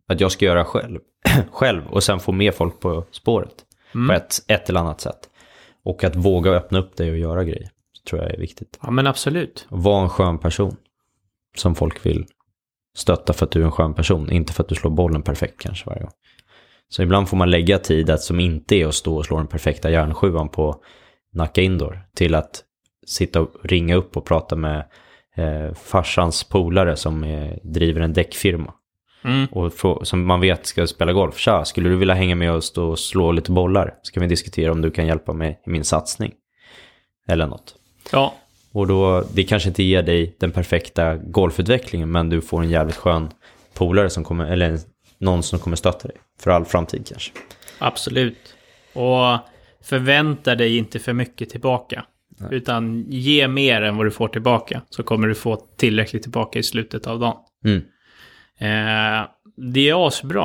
att jag ska göra själv, själv och sen få med folk på spåret på ett, ett eller annat sätt. Och att våga öppna upp dig och göra grejer tror jag är viktigt.
Ja men absolut.
Och Var en skön person som folk vill stötta för att du är en skön person, inte för att du slår bollen perfekt kanske varje gång. Så ibland får man lägga tid att som inte är att stå och slå den perfekta järnsjuan på Nacka Indoor till att sitta och ringa upp och prata med eh, farsans polare som eh, driver en däckfirma.
Mm.
Och frå- som man vet ska spela golf. Tja, skulle du vilja hänga med och stå och slå lite bollar? Ska vi diskutera om du kan hjälpa mig i min satsning? Eller något.
Ja,
Och då, det kanske inte ger dig den perfekta golfutvecklingen, men du får en jävligt skön polare som kommer, eller någon som kommer stötta dig för all framtid kanske.
Absolut. Och förvänta dig inte för mycket tillbaka. Utan ge mer än vad du får tillbaka. Så kommer du få tillräckligt tillbaka i slutet av dagen.
Mm.
Eh, det är asbra.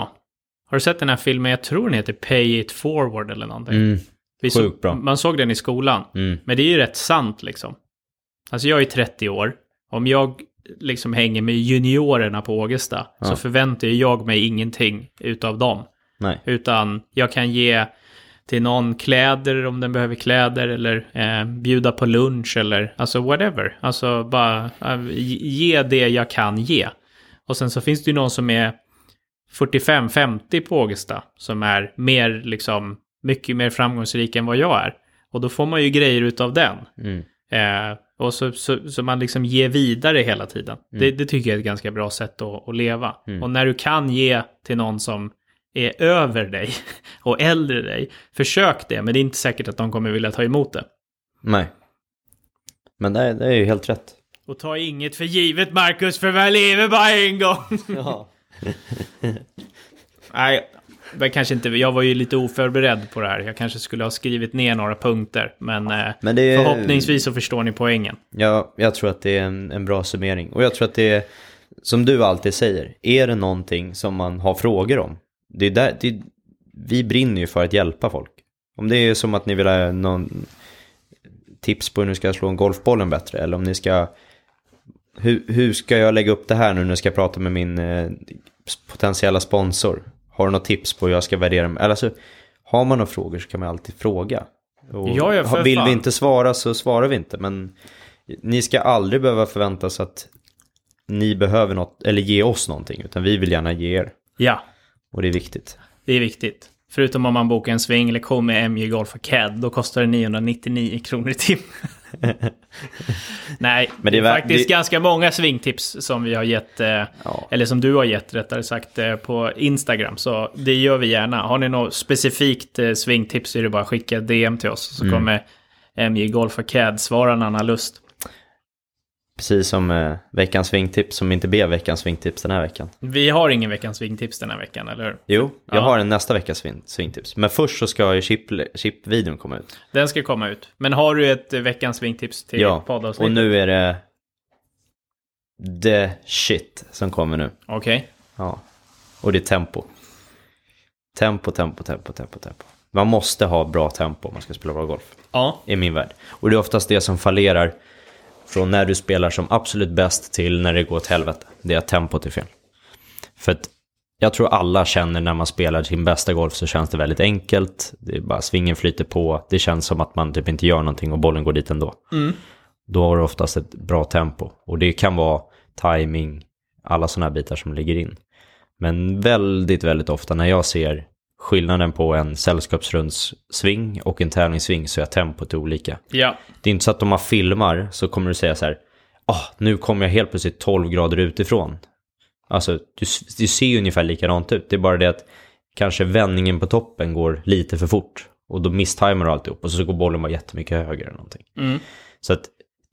Har du sett den här filmen? Jag tror den heter Pay It Forward eller någonting.
Mm.
Vi
Sjukt
såg-
bra.
Man såg den i skolan.
Mm.
Men det är ju rätt sant liksom. Alltså jag är 30 år. Om jag liksom hänger med juniorerna på Ågesta så förväntar jag mig ingenting utav dem.
Nej.
Utan jag kan ge till någon kläder om den behöver kläder eller eh, bjuda på lunch eller alltså whatever. Alltså bara eh, ge det jag kan ge. Och sen så finns det ju någon som är 45-50 på Ågesta som är mer liksom mycket mer framgångsrik än vad jag är. Och då får man ju grejer utav den.
Mm.
Eh, och så, så, så man liksom ger vidare hela tiden. Det,
Mm.
det tycker jag är ett ganska bra sätt att, att leva. Och när du kan ge till någon som är över dig och äldre dig, försök det, men det är inte säkert att de kommer vilja ta emot det.
Nej. Men det, är- det är ju helt rätt.
Och ta inget för givet, Marcus, för man lever bara en gång.
Ja.
Nej, jag, kanske inte, jag var ju lite oförberedd på det här. Jag kanske skulle ha skrivit ner några punkter. Men, eh,
Men det är-
förhoppningsvis så förstår ni poängen.
Ja, jag tror att det är en, en bra summering. Och jag tror att det är, som du alltid säger, är det någonting som man har frågor om? Det är där, det, vi brinner ju för att hjälpa folk. Om det är som att ni vill ha någon tips på hur ni ska slå en golfbollen bättre, eller om ni ska, hur, hur ska jag lägga upp det här nu när jag ska prata med min eh, potentiella sponsor? Har du något tips på hur jag ska värdera mig? Eller Alltså, har man några frågor så kan man alltid fråga. Och
Ja, ja, för
vill
fan.
vi inte svara så svarar vi inte, men ni ska aldrig behöva förvänta sig att ni behöver något, eller ge oss någonting, utan vi vill gärna ge er.
Ja,
Och det är viktigt.
det är viktigt. Förutom om man bokar en swinglektion med MJ Golf Acad, då kostar det 999 kronor i timmen. Nej,
Men
det
det
är
är värt-
faktiskt
det-
ganska många swingtips som vi har gett, eh,
Ja.
eller som du har gett rättare sagt, eh, på Instagram. Så det gör vi gärna. Har ni något specifikt eh, swingtips så är det bara att skicka DM till oss, så
Mm.
kommer MJ Golf Acad svara när han har lust.
Precis som eh, veckans vingtips som inte blev veckans vingtips den här veckan.
Vi har ingen veckans swingtips den här veckan, eller hur?
Jo, jag
Ja.
har en nästa veckas vin- swingtips. Men först så ska ju chip- chip-videon komma ut.
Den ska komma ut. Men har du ett eh, veckans swingtips till
Ja,
poddavsnittet?
och nu är det the shit som kommer nu.
Okej.
Ja, och det är tempo. Tempo, tempo, tempo, tempo, tempo. Man måste ha bra tempo om man ska spela bra golf.
Ja.
i min värld. Och det är oftast det som fallerar från när du spelar som absolut bäst till när det går åt helvete. Det är att tempot är fel. För att jag tror alla känner när man spelar sin bästa golf så känns det väldigt enkelt. Det är bara svingen flyter på. Det känns som att man typ inte gör någonting och bollen går dit ändå. Då har du oftast ett bra tempo. Och det kan vara timing, alla sådana här bitar som ligger in. Men väldigt, väldigt ofta när jag ser skillnaden på en sällskapsrundssving och en tävlingssving så är tempot olika.
Ja.
Det är inte så att om man filmar så kommer du säga så här, ah, nu kommer jag helt plötsligt 12 grader utifrån. Alltså, du, du ser ju ungefär likadant ut. Det är bara det att kanske vändningen på toppen går lite för fort. Och då misstimar du alltihop och så går bollen bara jättemycket högre eller någonting.
Mm.
Så att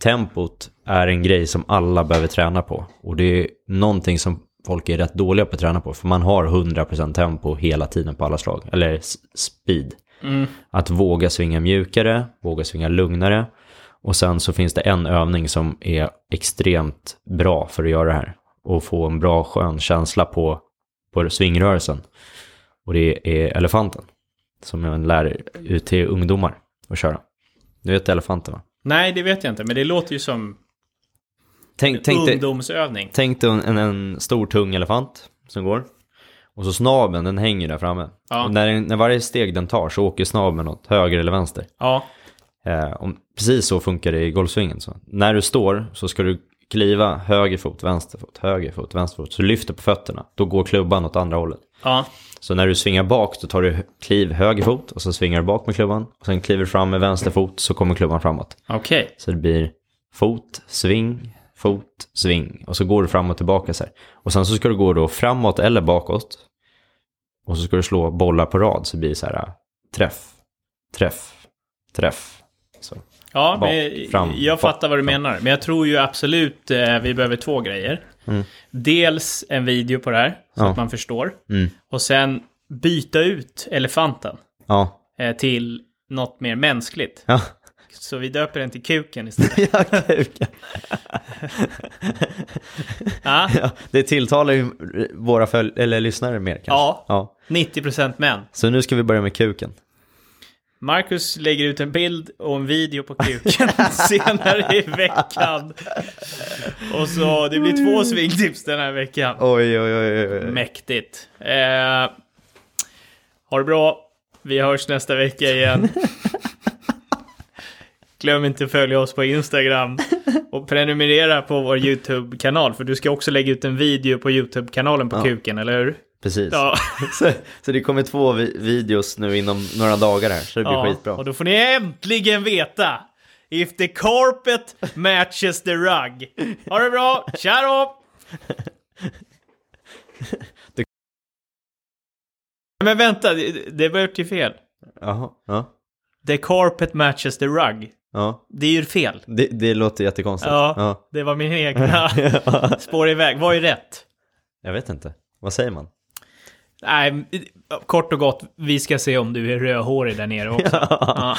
tempot är en grej som alla behöver träna på. Och det är någonting som folk är rätt dåliga på att träna på. För man har 100% tempo hela tiden på alla slag. Eller s- speed.
Mm.
Att våga svinga mjukare, våga svinga lugnare. Och sen så finns det en övning som är extremt bra för att göra det här. Och få en bra skön känsla på, på svingrörelsen. Och det är elefanten. Som jag lär ut till ungdomar att köra. Du vet elefanten va?
Nej, det vet jag inte, men det låter ju som
Tänk, tänk, dig,
ungdomsövning.
tänk dig en, en stor tung elefant som går. Och så snabeln, den hänger där framme.
Ja.
Och när, den- när varje steg den tar så åker snabeln åt höger eller vänster.
Ja,
Eh, om, precis så funkar det i golfsvingen. Så. När du står så ska du kliva höger fot, vänster fot, höger fot, vänster fot. Så du lyfter på fötterna. Då går klubban åt andra hållet.
ja,
Så när du svingar bak så tar du hö- kliv höger fot och så svingar du bak med klubban. Och sen kliver du fram med vänster fot så kommer klubban framåt.
okej.
Så det blir fot, sving, fot, sving. Och så går du fram och tillbaka så här. Och sen så ska du gå då framåt eller bakåt. Och så ska du slå bollar på rad så det blir så här äh, träff, träff, träff. Så.
Ja,
Bak,
men,
fram,
jag
bak,
fattar vad du
fram.
menar. Men jag tror ju absolut eh, vi behöver två grejer. Dels en video på det här, så
Mm. Ja.
att man förstår.
Mm.
Och sen byta ut elefanten
Ja.
eh, till något mer mänskligt.
Ja,
Så vi döper den till kuken istället.
ja, kuken.
Ja,
ja, det tilltalar ju våra föl- eller lyssnare mer kanske.
Ja.
ja.
90% män.
Så nu ska vi börja med kuken.
Marcus lägger ut en bild och en video på kuken senare i veckan. Och så det blir två swingtips den här veckan.
Oj, oj, oj. oj.
Mäktigt. Eh, ha det bra. Vi hörs nästa vecka igen. Glöm inte att följa oss på Instagram och prenumerera på vår YouTube-kanal för du ska också lägga ut en video på YouTube-kanalen på kuken, eller hur?
Precis.
Ja,
Så, så det kommer två vi- videos nu inom några dagar här, så det blir
ja.
skitbra.
och då får ni äntligen veta if the carpet matches the rug. Ha det bra, tja då! Men vänta, det, det blev ju fel.
Jaha, ja.
The carpet matches the rug.
ja.
Det är ju fel.
Det, det låter jättekonstigt.
Ja, det var min egna spår iväg. Vad är rätt?
Jag vet inte. Vad säger man?
Nej, kort och gott, vi ska se om du är rödhårig där nere också. Ja.